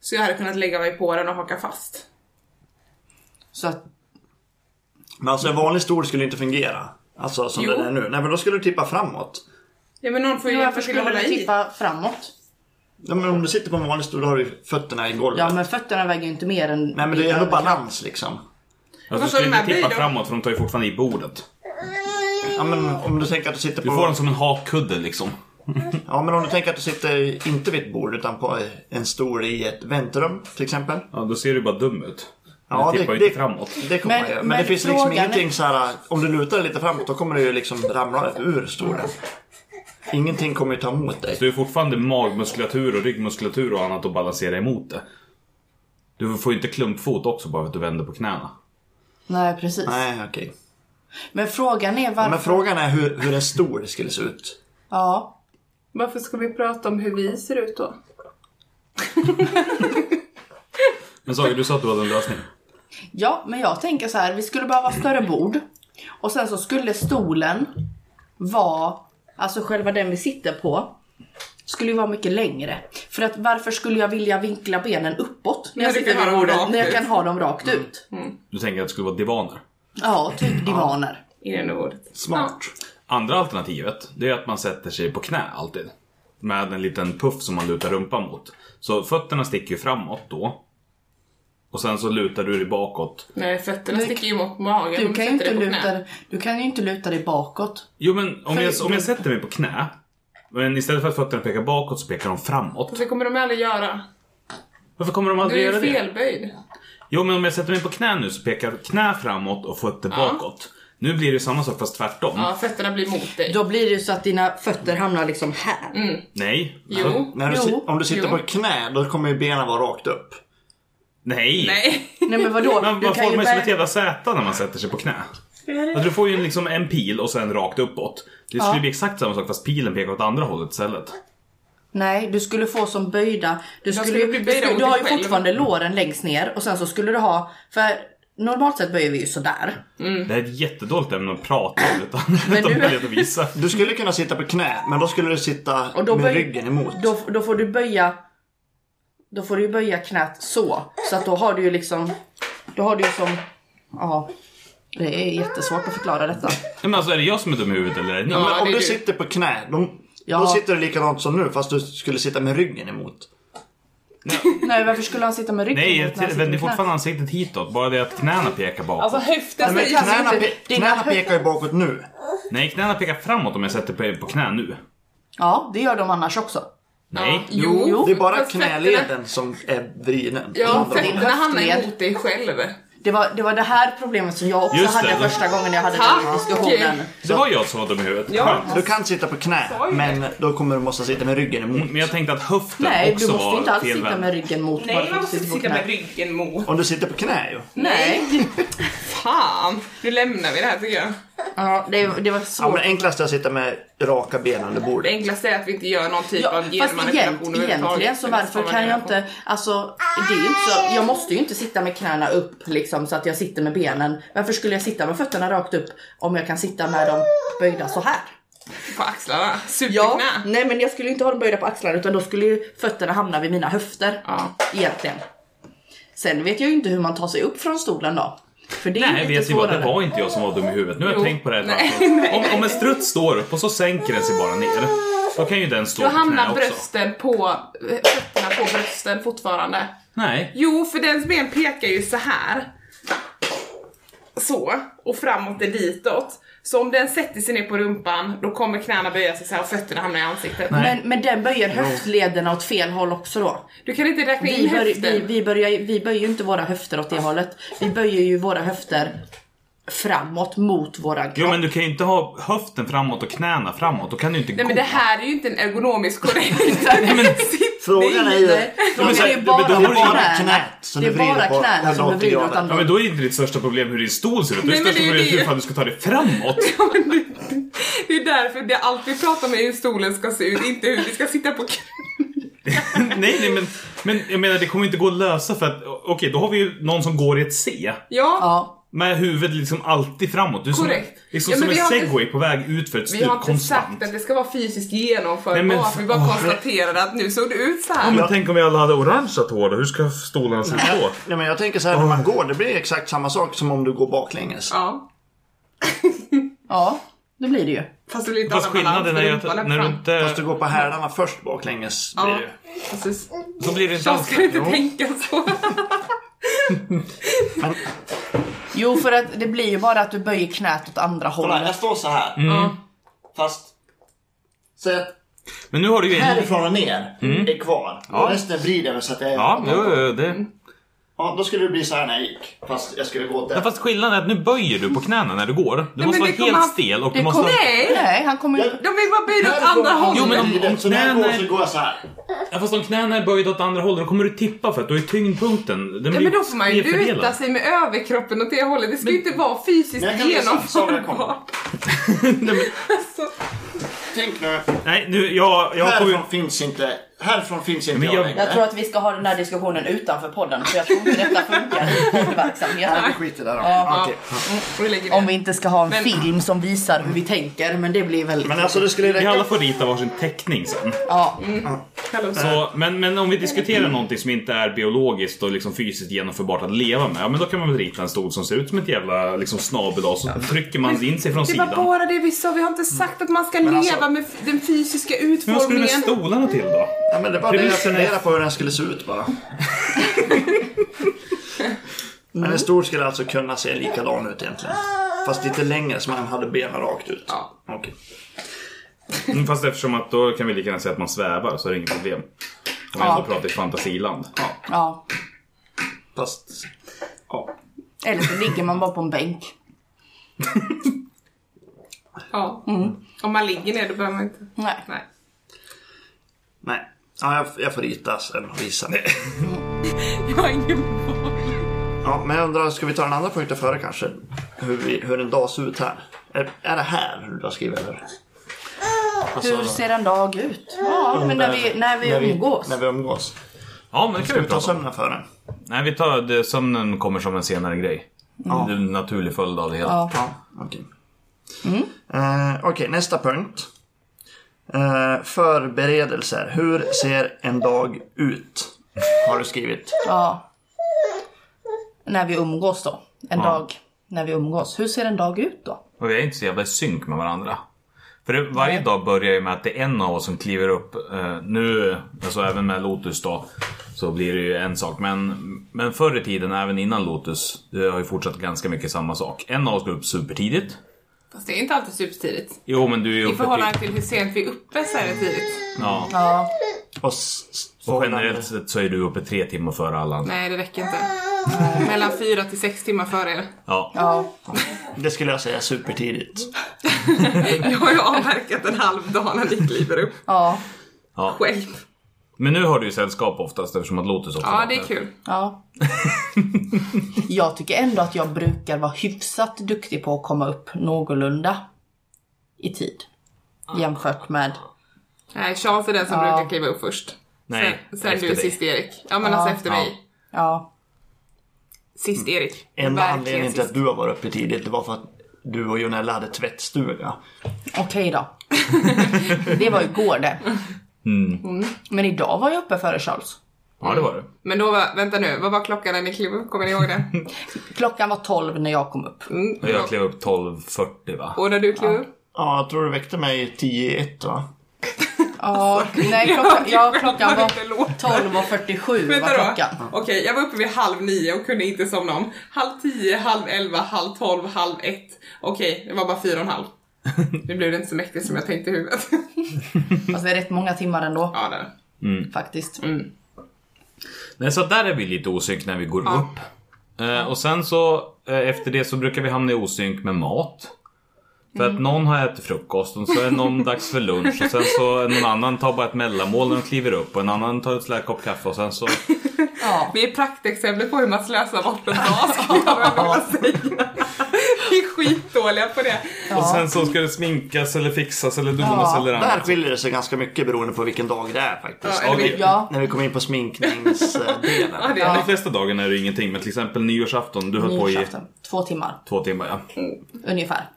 Speaker 2: Så jag hade kunnat lägga mig på den och haka fast.
Speaker 4: Så att,
Speaker 3: Men alltså en vanlig stol skulle inte fungera. Alltså som
Speaker 2: Jo.
Speaker 3: den är nu. Nej, men då skulle du tippa framåt.
Speaker 2: Ja men någon får ju hjälpa
Speaker 4: varför
Speaker 2: till att
Speaker 4: skulle
Speaker 2: hålla
Speaker 4: du
Speaker 2: i.
Speaker 4: tippa framåt?
Speaker 3: Ja, men om du sitter på en vanlig stol då har du ju fötterna i golvet.
Speaker 4: Ja, men fötterna väger ju inte mer än...
Speaker 3: Nej, men det är ändå balans liksom.
Speaker 1: Alltså,
Speaker 2: Vad
Speaker 1: du
Speaker 2: sa du
Speaker 1: skulle
Speaker 2: med
Speaker 1: inte tippa
Speaker 2: böj då?
Speaker 1: framåt för de tar ju fortfarande i bordet.
Speaker 3: Ja, men om du tänker att du sitter på...
Speaker 1: Du får den som en hakkudde liksom.
Speaker 3: Ja, men om du tänker att du sitter inte vid ett bord utan på en stol i ett väntrum till exempel.
Speaker 1: Ja, då ser du bara dum ut.
Speaker 3: Ja,
Speaker 1: du
Speaker 3: det-
Speaker 1: tippar ju
Speaker 3: det-
Speaker 1: inte framåt.
Speaker 3: Det kommer
Speaker 4: Men-
Speaker 3: men, ju. Men,
Speaker 4: men
Speaker 3: det finns liksom
Speaker 4: frågan är-
Speaker 3: ingenting så här. Om du lutar dig lite framåt då kommer du ju liksom ramla ur stolen. Ingenting kommer ju ta emot dig.
Speaker 1: Så det är fortfarande magmuskulatur och ryggmuskulatur och annat att balansera emot det. Du får ju inte klumpfot också bara för att du vänder på knäna.
Speaker 4: Nej, precis.
Speaker 3: Nej, okej.
Speaker 4: Men frågan är varför...
Speaker 3: Men frågan är hur, hur en stol skulle se ut.
Speaker 4: Ja.
Speaker 2: Varför ska vi prata om hur vi ser ut då?
Speaker 1: Men Saga, du sa att du hade en lösning.
Speaker 4: ja, men jag tänker så här, vi skulle behöva större bord. Och sen så skulle stolen vara, alltså själva den vi sitter på, skulle ju vara mycket längre. För att varför skulle jag vilja vinkla benen uppåt när jag
Speaker 2: När du
Speaker 4: sitter
Speaker 2: kan
Speaker 4: vid
Speaker 2: ha dem
Speaker 4: bordet?
Speaker 2: rakt
Speaker 4: När jag
Speaker 2: ut.
Speaker 4: kan ha dem rakt ut.
Speaker 1: Du tänker att det skulle vara divaner.
Speaker 4: Ja, typ divaner.
Speaker 2: I det enda ordet.
Speaker 3: Smart.
Speaker 1: Andra alternativet, det är att man sätter sig på knä alltid. Med en liten puff som man lutar rumpan mot. Så fötterna sticker ju framåt då. Och sen så lutar du dig bakåt.
Speaker 2: Nej, fötterna
Speaker 4: Men-
Speaker 2: sticker ju mot magen.
Speaker 4: Du
Speaker 2: om
Speaker 4: kan, ju
Speaker 2: sätter
Speaker 4: inte
Speaker 2: dig på knä.
Speaker 4: luta, du kan ju inte luta dig bakåt.
Speaker 1: Jo men om jag,
Speaker 4: För-
Speaker 1: om jag sätter mig på knä. Men istället för att fötterna pekar bakåt så pekar de framåt.
Speaker 2: Det kommer de aldrig göra.
Speaker 1: Varför kommer de
Speaker 2: Du
Speaker 1: aldrig
Speaker 2: är
Speaker 1: göra
Speaker 2: ju
Speaker 1: det?
Speaker 2: felböjd.
Speaker 1: Jo men om jag sätter mig på knä nu så pekar knä framåt och fötter bakåt. Nu blir det ju samma sak fast tvärtom.
Speaker 2: Ja, fötterna blir mot dig.
Speaker 4: Då blir det ju så att dina fötter hamnar liksom här.
Speaker 2: Mm.
Speaker 1: Nej. Så,
Speaker 2: Jo.
Speaker 3: När du,
Speaker 4: Jo.
Speaker 3: si- om du sitter
Speaker 2: Jo.
Speaker 3: på knä då kommer ju benen vara rakt upp.
Speaker 1: nej.
Speaker 2: Nej.
Speaker 4: Nej men vadå?
Speaker 1: Man,
Speaker 4: du
Speaker 1: man
Speaker 4: kan ju
Speaker 1: formar ju som
Speaker 4: bära-
Speaker 1: ett jävla Z när man sätter sig på knä. Alltså, du får ju liksom en pil och sen rakt uppåt. Det skulle bli exakt samma sak fast pilen pekar åt andra hållet istället.
Speaker 4: Nej, du skulle få som böjda. Du, skulle,
Speaker 2: skulle bli
Speaker 4: du,
Speaker 2: böjda
Speaker 4: skulle,
Speaker 2: åt
Speaker 4: du har
Speaker 2: dig
Speaker 4: ju
Speaker 2: själv.
Speaker 4: fortfarande låren längst ner och sen så skulle du ha, för normalt sett böjer vi ju sådär.
Speaker 1: Det här är ett jättedåligt ämne att prata om utan [laughs] utan
Speaker 4: du-
Speaker 1: möjlighet att visa.
Speaker 3: Du skulle kunna sitta på knä men då skulle du sitta
Speaker 4: Och då
Speaker 3: med
Speaker 4: böj-
Speaker 3: ryggen emot.
Speaker 4: Då, då får du böja, då får du ju böja knät så. Så att då har du ju liksom, då har du ju som, ja. Det är jättesvårt att förklara detta.
Speaker 1: Nej, Men alltså är det jag som är dum i huvudet eller är det ni?
Speaker 2: Ja,
Speaker 3: Men om
Speaker 2: det är
Speaker 3: du
Speaker 2: du.
Speaker 3: sitter på knä då, då
Speaker 4: Ja. Alltså,
Speaker 3: sitter du likadant som nu fast du skulle sitta med ryggen emot.
Speaker 4: Nej, varför skulle han sitta med ryggen
Speaker 1: Nej, jag
Speaker 4: mot när han sitter
Speaker 1: vänder
Speaker 4: med knät?
Speaker 1: fortfarande ansiktet hitåt. Bara det att knäna pekar bakåt.
Speaker 2: Alltså
Speaker 4: Nej,
Speaker 2: höften
Speaker 4: men
Speaker 2: säger Alltså,
Speaker 4: knä-
Speaker 3: Knäna,
Speaker 4: inte-
Speaker 3: pe-
Speaker 4: dina
Speaker 3: knäna
Speaker 4: höfter-
Speaker 3: pekar ju bakåt nu.
Speaker 1: Nej, knäna pekar framåt om jag sätter på, på knä nu.
Speaker 4: Ja, det gör de annars också.
Speaker 1: Nej.
Speaker 2: Jo.
Speaker 4: Jo.
Speaker 3: Det är bara
Speaker 2: Fast fötterna-
Speaker 3: knäleden som är vriden.
Speaker 2: Ja,
Speaker 3: Andra-
Speaker 2: fötterna hamnar
Speaker 4: höftled.
Speaker 2: emot dig själv.
Speaker 4: Det var, det var det här problemet som jag också
Speaker 1: Just det,
Speaker 4: hade
Speaker 1: det-
Speaker 4: första gången jag hade den
Speaker 2: Tack.
Speaker 4: diskussionen.
Speaker 1: Det var jag som var dum i huvudet.
Speaker 2: Ja.
Speaker 1: Skönt.
Speaker 3: Du kan sitta på knä men då kommer du måste sitta med ryggen emot.
Speaker 1: Men jag tänkte att höften
Speaker 4: Nej,
Speaker 1: också
Speaker 4: du måste
Speaker 1: var
Speaker 4: inte alls
Speaker 1: fel
Speaker 4: sitta
Speaker 1: vänd.
Speaker 4: med ryggen mot bara för
Speaker 2: Nej,
Speaker 4: att
Speaker 2: man
Speaker 4: du
Speaker 2: måste
Speaker 4: sitter på
Speaker 2: sitta
Speaker 4: knä.
Speaker 2: med ryggen mot.
Speaker 3: Om du sitter på knä ju.
Speaker 4: Nej.
Speaker 2: Fan, nu lämnar vi det här tycker jag.
Speaker 4: Ja, det, det var
Speaker 3: Ja,
Speaker 4: svårt.
Speaker 3: men enklast är att sitta med raka ben under
Speaker 2: Det
Speaker 3: bordet.
Speaker 2: enklaste är att vi inte gör någon typ
Speaker 4: Ja,
Speaker 2: av
Speaker 4: fast
Speaker 2: genmanipulation
Speaker 4: egent, egentligen så varför kan jag inte, alltså det är ju inte så, jag måste ju inte sitta med knäna upp liksom så att jag sitter med benen. Varför skulle jag sitta med fötterna rakt upp om jag kan sitta med dem böjda så här?
Speaker 2: På axlarna,
Speaker 4: Ja,
Speaker 2: superknä.
Speaker 4: nej men jag skulle ju inte ha dem böjda på axlarna utan då skulle ju fötterna hamna vid mina höfter.
Speaker 2: Ja.
Speaker 4: Egentligen. Sen vet jag ju inte hur man tar sig upp från stolen då. För det är
Speaker 1: Nej,
Speaker 4: lite
Speaker 1: vet ni vad? Det
Speaker 4: svårare.
Speaker 1: var inte jag som var dum i huvudet. Nu har jag
Speaker 2: Jo.
Speaker 1: tänkt på det här ett
Speaker 2: Nej,
Speaker 1: varv.
Speaker 2: nej,
Speaker 1: om, om en strutt står upp och så sänker den sig bara ner. Då kan ju den stå
Speaker 2: Då
Speaker 1: på knä
Speaker 2: hamnar
Speaker 1: också.
Speaker 2: brösten på, eh, fötterna på brösten fortfarande.
Speaker 1: Nej.
Speaker 2: Jo, för dens ben pekar ju så här. Så, och framåt är ditåt. Så om den sätter sig ner på rumpan, då kommer knäna böja sig så här och fötterna hamnar i ansiktet.
Speaker 1: Nej.
Speaker 4: Men, men den böjer höftlederna åt fel håll också då.
Speaker 2: Du kan inte räkna
Speaker 4: Vi,
Speaker 2: in
Speaker 4: bör, vi,
Speaker 2: höften.
Speaker 4: vi, börjar, vi böjer ju inte våra höfter åt det hållet. Vi böjer ju våra höfter framåt mot våra
Speaker 3: [laughs]
Speaker 1: Jo, men du kan ju inte ha höften framåt och knäna framåt. Då kan du ju inte
Speaker 2: Nej
Speaker 1: gå.
Speaker 2: men det här är ju inte en ergonomisk
Speaker 3: [laughs]
Speaker 2: korrekt [laughs] sittning.
Speaker 3: Frågan är ju...
Speaker 4: Nej,
Speaker 1: men
Speaker 4: frågan
Speaker 1: så-
Speaker 4: är ju
Speaker 1: men
Speaker 4: bara
Speaker 1: då har du ju bara
Speaker 4: knäna.
Speaker 3: knät som
Speaker 4: Det är
Speaker 3: du vrider
Speaker 4: bara
Speaker 3: på
Speaker 4: knäna som du
Speaker 3: 180
Speaker 4: vrider åt
Speaker 3: grader.
Speaker 1: Ja,
Speaker 4: andra
Speaker 1: men
Speaker 4: hållet.
Speaker 1: då är inte ditt största problem hur din stol ser ut. Ditt
Speaker 2: Nej, men
Speaker 1: största
Speaker 2: det är
Speaker 1: problem är
Speaker 2: det.
Speaker 1: hur fan du ska ta dig framåt. [laughs]
Speaker 2: Ja, men det- Det är därför det är allt vi pratar om är hur stolen ska se ut, inte hur vi ska sitta på [laughs] knä.
Speaker 1: nej, nej men, men jag menar det kommer inte gå att lösa för att okej då har vi ju någon som går i ett C.
Speaker 2: Ja,
Speaker 4: Ja,
Speaker 1: Med huvudet liksom alltid framåt. Du är som,
Speaker 2: Korrekt.
Speaker 1: liksom
Speaker 2: Ja,
Speaker 1: som
Speaker 2: men
Speaker 1: en
Speaker 2: vi har inte-
Speaker 1: segway på väg ut för ett stup
Speaker 2: vi har inte
Speaker 1: Typ konstant.
Speaker 2: sagt att
Speaker 1: Ja,
Speaker 2: det ska vara fysiskt genomförbart.
Speaker 1: Nej, men-
Speaker 2: Vi bara
Speaker 1: Åh.
Speaker 2: konstaterade att nu såg det ut så här.
Speaker 1: men tänk om vi alla hade orangea tår då? Hur ska stolarna se ut då?
Speaker 3: Nej, men jag tänker så här, när man går, det blir exakt samma sak som om du går baklänges.
Speaker 2: Ja.
Speaker 4: ja, det blir det ju.
Speaker 2: Fast det blir inte
Speaker 1: Fast
Speaker 2: annan balans
Speaker 1: skillnaden
Speaker 2: för
Speaker 1: är ju
Speaker 2: rumpan
Speaker 1: att
Speaker 2: är
Speaker 1: när du
Speaker 2: fram.
Speaker 3: Fast du
Speaker 1: inte...
Speaker 3: går på hälarna först baklänges. Blir
Speaker 2: Ja,
Speaker 3: det ju.
Speaker 2: precis.
Speaker 1: Så blir det inte
Speaker 2: Jag
Speaker 1: alls
Speaker 2: skulle inte
Speaker 1: Jo.
Speaker 2: tänka så.
Speaker 4: Jo, för att det blir ju bara att du böjer knät åt andra
Speaker 3: Kolla,
Speaker 4: hållet.
Speaker 3: jag står så här.
Speaker 1: Mm.
Speaker 3: Fast... Säg att
Speaker 1: Men nu har du ju en...
Speaker 3: härifrån och ner är kvar. Och resten vrider jag mig så att jag är...
Speaker 1: Mm. Ja, jo, jo, det...
Speaker 3: Ja, då skulle det bli så här när jag gick. Fast jag skulle gå åt det.
Speaker 1: Ja, fast skillnaden är att nu böjer du på knäna när du går. Du måste
Speaker 2: men
Speaker 1: vara
Speaker 2: det kommer
Speaker 1: helt
Speaker 2: han-
Speaker 1: stel och du
Speaker 4: Det
Speaker 1: måste...
Speaker 4: kommer-
Speaker 2: Nej!
Speaker 4: Nej, han kommer ju...
Speaker 3: Jag-
Speaker 2: De vill bara böja åt
Speaker 3: Härifrån
Speaker 2: andra
Speaker 3: och
Speaker 2: hållet.
Speaker 1: Jo, men om-
Speaker 3: vrider,
Speaker 1: om
Speaker 3: så när jag
Speaker 1: knäna
Speaker 3: går
Speaker 1: är-
Speaker 3: så går jag så här.
Speaker 1: Ja, fast om knäna är böjda åt andra hållet då kommer du tippa för att då är tyngdpunkten... Den
Speaker 2: Ja,
Speaker 1: blir
Speaker 2: men då får man ju
Speaker 1: snedfördelad.
Speaker 2: luta sig med överkroppen åt det hållet. Det ska ju inte vara fysiskt
Speaker 3: Men jag kan bli så- så där kommer.
Speaker 2: genomförbart. alltså,
Speaker 3: Tänk nu.
Speaker 1: Nej, nu, jag, jag får ju...
Speaker 3: Härifrån finns inte... Härifrån finns inte
Speaker 1: Men
Speaker 3: jag,
Speaker 1: jag-
Speaker 3: längre.
Speaker 4: Jag tror att vi ska ha den här diskussionen utanför podden för jag tror inte detta funkar i poddverksamheten.
Speaker 3: Skit i det då.
Speaker 4: Ja.
Speaker 3: Okej.
Speaker 2: vi lägger
Speaker 4: Om
Speaker 2: ner.
Speaker 4: vi inte ska ha en
Speaker 2: Men-
Speaker 4: film som visar hur vi tänker, men det blir väldigt...
Speaker 3: Men alltså det skulle
Speaker 1: Vi
Speaker 3: räcka...
Speaker 1: alla får rita varsin teckning sen.
Speaker 4: Ja,
Speaker 2: Hallå.
Speaker 1: Så, men, men om vi diskuterar någonting som inte är biologiskt och liksom fysiskt genomförbart att leva med. Ja, men då kan man väl rita en stol som ser ut som ett jävla liksom, snabel och så trycker man in sig från
Speaker 2: Det var
Speaker 1: sidan. Mm.
Speaker 2: bara det vi sa, vi har inte sagt att man ska
Speaker 3: alltså-
Speaker 2: leva med f- den fysiska
Speaker 1: Men vad skulle du med
Speaker 2: utformningen.
Speaker 1: stolarna till då?
Speaker 3: Ja, men det var det jag
Speaker 1: Premissen är-
Speaker 3: funderade på hur den skulle se ut bara. Men en stol skulle alltså kunna se likadan ut egentligen. Fast lite längre så man hade benen rakt ut.
Speaker 2: Ja.
Speaker 3: Okej.
Speaker 1: Mm, Fast eftersom att då kan vi lika gärna säga att man svävar så är det inget problem. Om vi
Speaker 4: Ja.
Speaker 1: ändå pratar i fantasiland.
Speaker 4: ja.
Speaker 3: Fast... Ja.
Speaker 4: Eller så ligger man bara på en bänk.
Speaker 2: Ja.
Speaker 1: Mm.
Speaker 2: Om man ligger ner då behöver man inte.
Speaker 4: Nej.
Speaker 2: Nej.
Speaker 3: Nej. Ja, jag, jag får rita sen och visa.
Speaker 2: Jag har ingen boll.
Speaker 3: Ja, men jag undrar, ska vi ta den andra punkten före kanske? Hur, vi, hur en dag ser ut här. Är, är det här hur du har skrivit eller? Alltså,
Speaker 4: Hur ser en dag ut? Ja, men när vi, när vi umgås.
Speaker 3: När vi umgås.
Speaker 1: Ja, men det kan
Speaker 3: Ska
Speaker 1: vi
Speaker 3: vi ta
Speaker 1: prata om.
Speaker 3: sömnen före?
Speaker 1: Nej, vi tar det, sömnen kommer som en senare grej. Det är en naturlig följd av det hela.
Speaker 4: Ja.
Speaker 3: Ja, okej. Eh, okej, nästa punkt. Eh, förberedelser. Hur ser en dag ut? Har du skrivit.
Speaker 4: Ja. När vi umgås då. En dag när vi umgås. Hur ser en dag ut då?
Speaker 1: Och vi är inte så jävla i synk med varandra. För det, varje dag börjar ju med att det är en av oss som kliver upp. Eh, nu, alltså även med Lotus då, så blir det ju en sak. Men, men förr i tiden, även innan Lotus, det har ju fortsatt ganska mycket samma sak. En av oss går upp supertidigt.
Speaker 2: Fast det är inte alltid supertidigt.
Speaker 1: Jo men du är ju
Speaker 2: I
Speaker 1: uppe
Speaker 2: förhållande
Speaker 1: till...
Speaker 2: till hur sent vi är uppe så är det tidigt.
Speaker 1: Ja.
Speaker 4: Ja,
Speaker 3: Och, s- s-
Speaker 1: Och generellt sett så är du uppe tre timmar före alla andra.
Speaker 2: Nej, det räcker inte.
Speaker 1: Mm.
Speaker 2: Mellan fyra till sex timmar före er.
Speaker 1: Ja.
Speaker 4: ja.
Speaker 3: Det skulle jag säga supertidigt.
Speaker 2: Jag har ju avverkat en halv dag när ni kliver upp
Speaker 4: ja.
Speaker 1: ja.
Speaker 2: själv.
Speaker 1: Men nu har du ju sällskap oftast eftersom att Lotus också
Speaker 2: Ja, det är
Speaker 1: vaknar.
Speaker 2: kul.
Speaker 4: Ja. [laughs] jag tycker ändå att jag brukar vara hyfsat duktig på att komma upp någorlunda i tid. Jämfört med...
Speaker 2: Nej, Charles är den som brukar kliva upp först.
Speaker 1: Nej,
Speaker 2: sen sen
Speaker 1: efter
Speaker 2: du
Speaker 1: dig.
Speaker 2: sist Erik. Ja, men alltså efter
Speaker 1: Ja. Mm.
Speaker 2: mig.
Speaker 4: Ja.
Speaker 2: Sist Erik.
Speaker 3: Enda
Speaker 2: Verkligen
Speaker 3: anledningen till
Speaker 2: sist.
Speaker 3: att du har varit uppe tidigt det var för att du och Jonella hade tvättstuga.
Speaker 4: Okej då. [laughs] det var igår det. Mm. Men idag var jag uppe före Charles.
Speaker 1: Ja det var det.
Speaker 2: Men då var, vänta nu, vad var klockan när ni klev upp? Kommer ni ihåg det?
Speaker 4: Klockan var 12 när jag kom upp.
Speaker 2: Mm.
Speaker 1: Och jag klev upp 12.40 va?
Speaker 2: Och när du klev upp?
Speaker 3: Ja, jag tror du väckte mig 10 i ett va?
Speaker 4: Ja, nej, klockan, ja, [laughs] klockan var
Speaker 2: inte låten.
Speaker 4: 12.47 var
Speaker 2: Vänta då.
Speaker 4: klockan.
Speaker 2: Okej, jag var uppe vid halv nio och kunde inte somna om. Halv tio, halv elva, halv tolv, halv ett. Okej, det var bara fyra och en halv. Nu blev det inte så mäktigt som jag tänkte i huvudet. [laughs]
Speaker 4: Fast Alltså, det är rätt många timmar ändå
Speaker 2: Ja, där.
Speaker 4: faktiskt.
Speaker 1: Nej, så där är vi lite osynk när vi går upp. Eh, och sen så eh, efter det så brukar vi hamna i osynk med mat. För
Speaker 4: Mm.
Speaker 1: att någon har ätit frukost och så är
Speaker 4: [laughs]
Speaker 1: någon dags för lunch och sen så är någon annan tar bara ett mellanmål när de kliver upp och en annan tar ett slät kopp kaffe och sen så...
Speaker 4: Ja.
Speaker 2: Vi är praktexempel på hur man slösar bort en dag, skulle jag vilja säga. Vi är skitdåliga på det.
Speaker 1: Och
Speaker 4: Ja.
Speaker 1: sen så ska det sminkas eller fixas eller donas
Speaker 4: Ja,
Speaker 1: eller
Speaker 3: Där
Speaker 1: annat.
Speaker 3: skiljer det sig ganska mycket beroende på vilken dag det är faktiskt.
Speaker 2: Ja,
Speaker 1: Okej.
Speaker 4: Ja.
Speaker 3: När vi kommer in på eh,
Speaker 2: Ja,
Speaker 3: sminkningsdelen.
Speaker 2: det är
Speaker 1: De
Speaker 2: det.
Speaker 1: flesta dagarna är det ingenting men till exempel nyårsafton, du höll på i
Speaker 4: Nyårsafton. Två timmar
Speaker 1: två timmar ja.
Speaker 4: ungefär.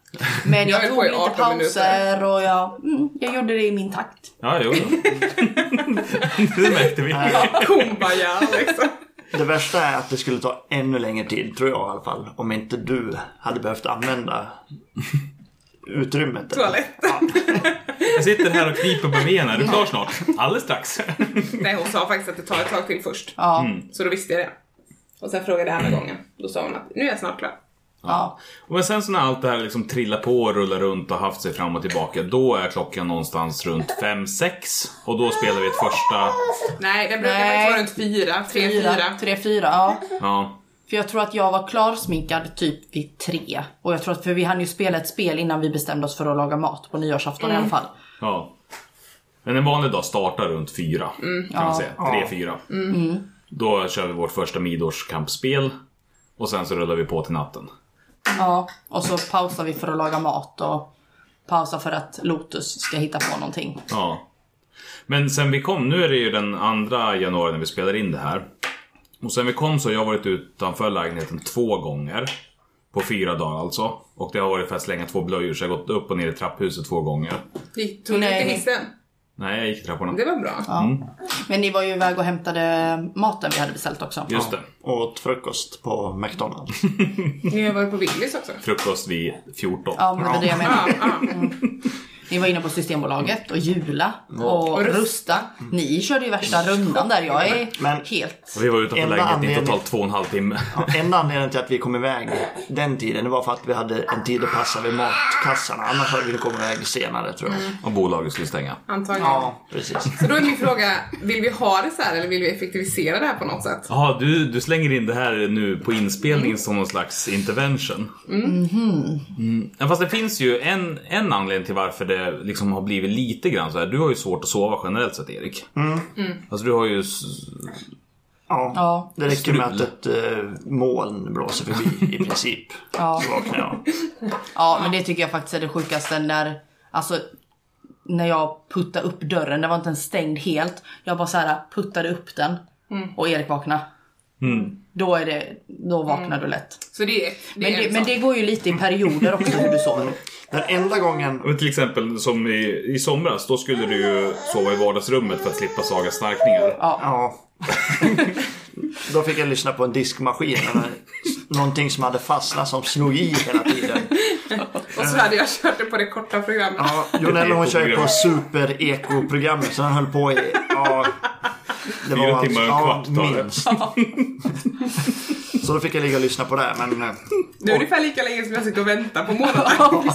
Speaker 4: Men jag,
Speaker 2: höll på
Speaker 4: tog
Speaker 2: i
Speaker 4: lite
Speaker 2: 18
Speaker 4: pauser och jag, mm, jag gjorde det i min takt.
Speaker 1: Ja, jo. jo. [laughs] det märkte vi.
Speaker 2: Kumbaya liksom.
Speaker 3: Det värsta är att det skulle ta ännu längre tid, tror jag i alla fall, om inte du hade behövt använda utrymmet.
Speaker 2: Toaletten.
Speaker 1: Jag sitter här och kniper på benen. Är du klar snart? Alldeles strax.
Speaker 2: Nej, hon sa faktiskt att det tar ett tag till först. Mm.
Speaker 4: Ja,
Speaker 2: Så då visste jag det. Och sen frågade jag andra gången. Då sa hon att nu är jag snart klar.
Speaker 4: ja.
Speaker 1: Men sen så när allt det här liksom trillar på och rullar runt och haft sig fram och tillbaka. Då är klockan någonstans runt 5-6. Och då spelar vi ett första...
Speaker 2: Nej, den brukar
Speaker 4: Nej.
Speaker 2: faktiskt vara runt fyra, tre, fyra.
Speaker 4: Fyra, tre, fyra, ja.
Speaker 1: Ja.
Speaker 4: För jag tror att jag var klarsminkad typ vid tre. Och jag tror att, för vi hann ju spela ett spel innan vi bestämde oss för att laga mat på nyårsafton i alla fall.
Speaker 1: ja. Men en vanlig dag startar runt 4. Kan man
Speaker 4: Mm, Ja. Mm.
Speaker 1: säga. 3-4. Då kör vi vårt första midårskampspel. Och sen så rullar vi på till natten.
Speaker 4: Ja, och så pausar vi för att laga mat och pausar för att Lotus ska hitta på någonting.
Speaker 1: Ja. Men sen vi kom, nu är det ju den andra januari när vi spelar in det här. Och sen vi kom så har jag varit utanför lägenheten två gånger. På fyra dagar alltså. Och det har varit för att slänga två blöjor så jag har gått upp och ner i trapphuset två gånger.
Speaker 2: Gick- Tog du inte
Speaker 4: Nej.
Speaker 2: hissen?
Speaker 1: Nej, jag gick i trapporna.
Speaker 2: Det var bra.
Speaker 4: Men ni var ju iväg och hämtade maten vi hade beställt också.
Speaker 1: Just det.
Speaker 3: Och åt frukost på McDonalds.
Speaker 2: Ni har varit på Willys också.
Speaker 1: Frukost vid 14.
Speaker 4: Ja, men det var det jag menade. Mm.
Speaker 2: Ja, ja.
Speaker 4: Ni var inne på Systembolaget och jula och,
Speaker 2: Och Rusta.
Speaker 4: rusta. Ni körde ju värsta rundan där. Jag är
Speaker 3: Mm. Men-
Speaker 4: helt...
Speaker 1: Och vi var utanför
Speaker 3: Enda
Speaker 1: lägenheten i
Speaker 3: anledningen-
Speaker 1: totalt två och en halv timme.
Speaker 3: Enda anledningen till att vi kom iväg den tiden det var för att vi hade en tid att passa vid matkassarna. Annars hade vi kommit iväg senare tror
Speaker 4: Mm.
Speaker 3: jag.
Speaker 1: Och bolaget skulle stänga.
Speaker 2: Antagligen.
Speaker 3: Ja, precis.
Speaker 2: Så då är min fråga, vill vi ha det så här eller vill vi effektivisera det här på något sätt?
Speaker 1: Jaha, du, du slänger in det här nu på inspelningen som någon slags intervention. Mm. Ja, fast det finns ju en, en anledning till varför det liksom har blivit lite grann så här. Du har ju svårt att sova generellt sett Erik. Mm. Alltså du har ju... s-
Speaker 3: Ja.
Speaker 4: Ja,
Speaker 3: Det räcker med att ett eh, moln blåser förbi i princip.
Speaker 4: ja.
Speaker 3: Så vaknar jag.
Speaker 4: ja, men det tycker jag faktiskt är det sjukaste när... Alltså, när jag puttade upp dörren. Den var inte ens stängd helt. Jag bara så här puttade upp den
Speaker 2: Mm.
Speaker 4: och Erik vaknade.
Speaker 3: Mm.
Speaker 4: Då, är det, då vaknar du lätt.
Speaker 2: Så det är, det
Speaker 4: Men
Speaker 2: är
Speaker 4: det,
Speaker 2: en
Speaker 4: men
Speaker 2: sak.
Speaker 4: det går ju lite i perioder
Speaker 2: [laughs]
Speaker 4: också hur du sover.
Speaker 3: Den enda gången...
Speaker 1: Och till exempel som i, i somras, då skulle du ju sova i vardagsrummet för att slippa Sagas snarkningar.
Speaker 3: Ja. [laughs] Då fick jag lyssna på en diskmaskin. Eller någonting som hade fastnat som slog i hela tiden.
Speaker 2: Och så hade jag kört det på det korta programmet.
Speaker 3: Ja, Jonella hon kör ju på
Speaker 1: Ekoprogram.
Speaker 3: super-ekoprogrammet så den höll på i... Ja, det alltså-
Speaker 1: Fyra timmar och en
Speaker 3: ja,
Speaker 1: kvart tar det.
Speaker 3: minst.
Speaker 1: [laughs]
Speaker 3: Så då fick jag ligga och lyssna på det. Men, eh,
Speaker 2: Det är ungefär lika länge som jag sitter och väntar
Speaker 4: [laughs]
Speaker 2: på morgonen.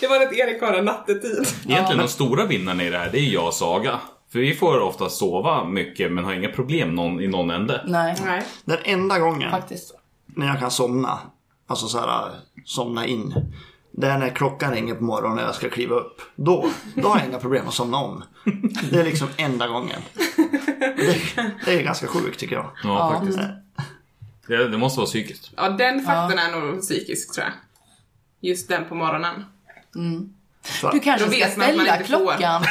Speaker 2: det var att Erik har en nattetid.
Speaker 1: Egentligen de stora vinnarna i det här, det är jag och Saga. För vi får ofta sova mycket men har inga problem någon, i någon ände.
Speaker 4: Nej,
Speaker 2: Nej.
Speaker 3: den enda gången
Speaker 4: faktiskt.
Speaker 3: när jag kan somna, alltså så här eh, somna in. Det är när klockan ringer på morgonen och jag ska kliva upp. Då, då har jag inga problem att somna om. Det är liksom enda gången. Det, det är ganska sjukt tycker jag. Eh,
Speaker 1: Ja, faktiskt. Det, det måste vara psykiskt.
Speaker 2: Ja, den faktorn är nog psykisk tror jag. Just den på morgonen.
Speaker 3: Så,
Speaker 4: Du kanske
Speaker 2: Då
Speaker 4: ska
Speaker 2: vet man att man
Speaker 4: ställa
Speaker 2: inte får.
Speaker 4: klockan.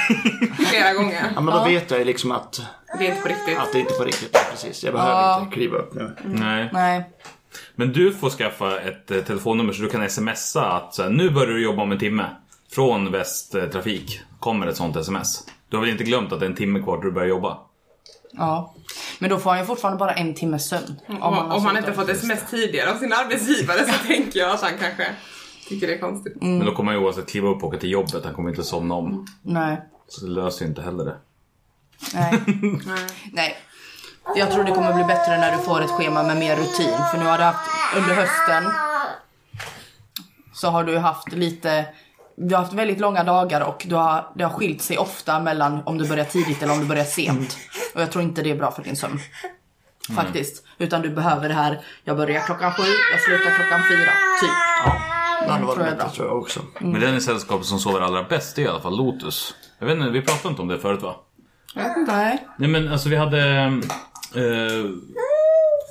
Speaker 2: Flera gånger.
Speaker 3: ja, men då vet jag ju liksom att,
Speaker 2: Det är inte på riktigt.
Speaker 3: att det inte är på riktigt. Precis, jag behöver
Speaker 4: Ja. Mm,
Speaker 3: inte kliva upp nu.
Speaker 1: Nej.
Speaker 4: Nej.
Speaker 1: Men du får skaffa ett eh, telefonnummer så du kan smsa att så här, nu börjar du jobba om en timme. Från Västtrafik kommer ett sånt sms. Du har väl inte glömt att det är en timme kvar till du börjar jobba?
Speaker 4: Ja. Men då får han ju fortfarande bara en timmes sömn.
Speaker 2: Om,
Speaker 4: har
Speaker 2: om han
Speaker 4: sovit
Speaker 2: inte
Speaker 4: av.
Speaker 2: fått sms tidigare av sin arbetsgivare så tänker jag att han kanske tycker det är konstigt.
Speaker 1: Men då kommer han ju oavsett kliva upp och åka till jobbet. Han kommer inte somna om.
Speaker 4: Nej.
Speaker 1: Så det löser ju inte heller det.
Speaker 4: Nej. Nej. Jag tror det kommer bli bättre när du får ett schema med mer rutin. För nu har du haft, under hösten så har du haft lite, du har haft väldigt långa dagar och du har, det har skilt sig ofta mellan om du börjar tidigt eller om du börjar sent. Och jag tror inte det är bra för din sömn. Faktiskt. Utan du behöver det här, jag börjar klockan sju, jag slutar klockan fyra. Typ.
Speaker 3: Det hade varit
Speaker 4: tror jag
Speaker 3: bättre
Speaker 4: då.
Speaker 3: tror jag också.
Speaker 1: Men den i sällskapet som sover allra bäst det är i alla fall Lotus. Jag vet inte, vi pratade inte om det förut va?
Speaker 4: Nej.
Speaker 1: Nej men alltså vi hade... Eh,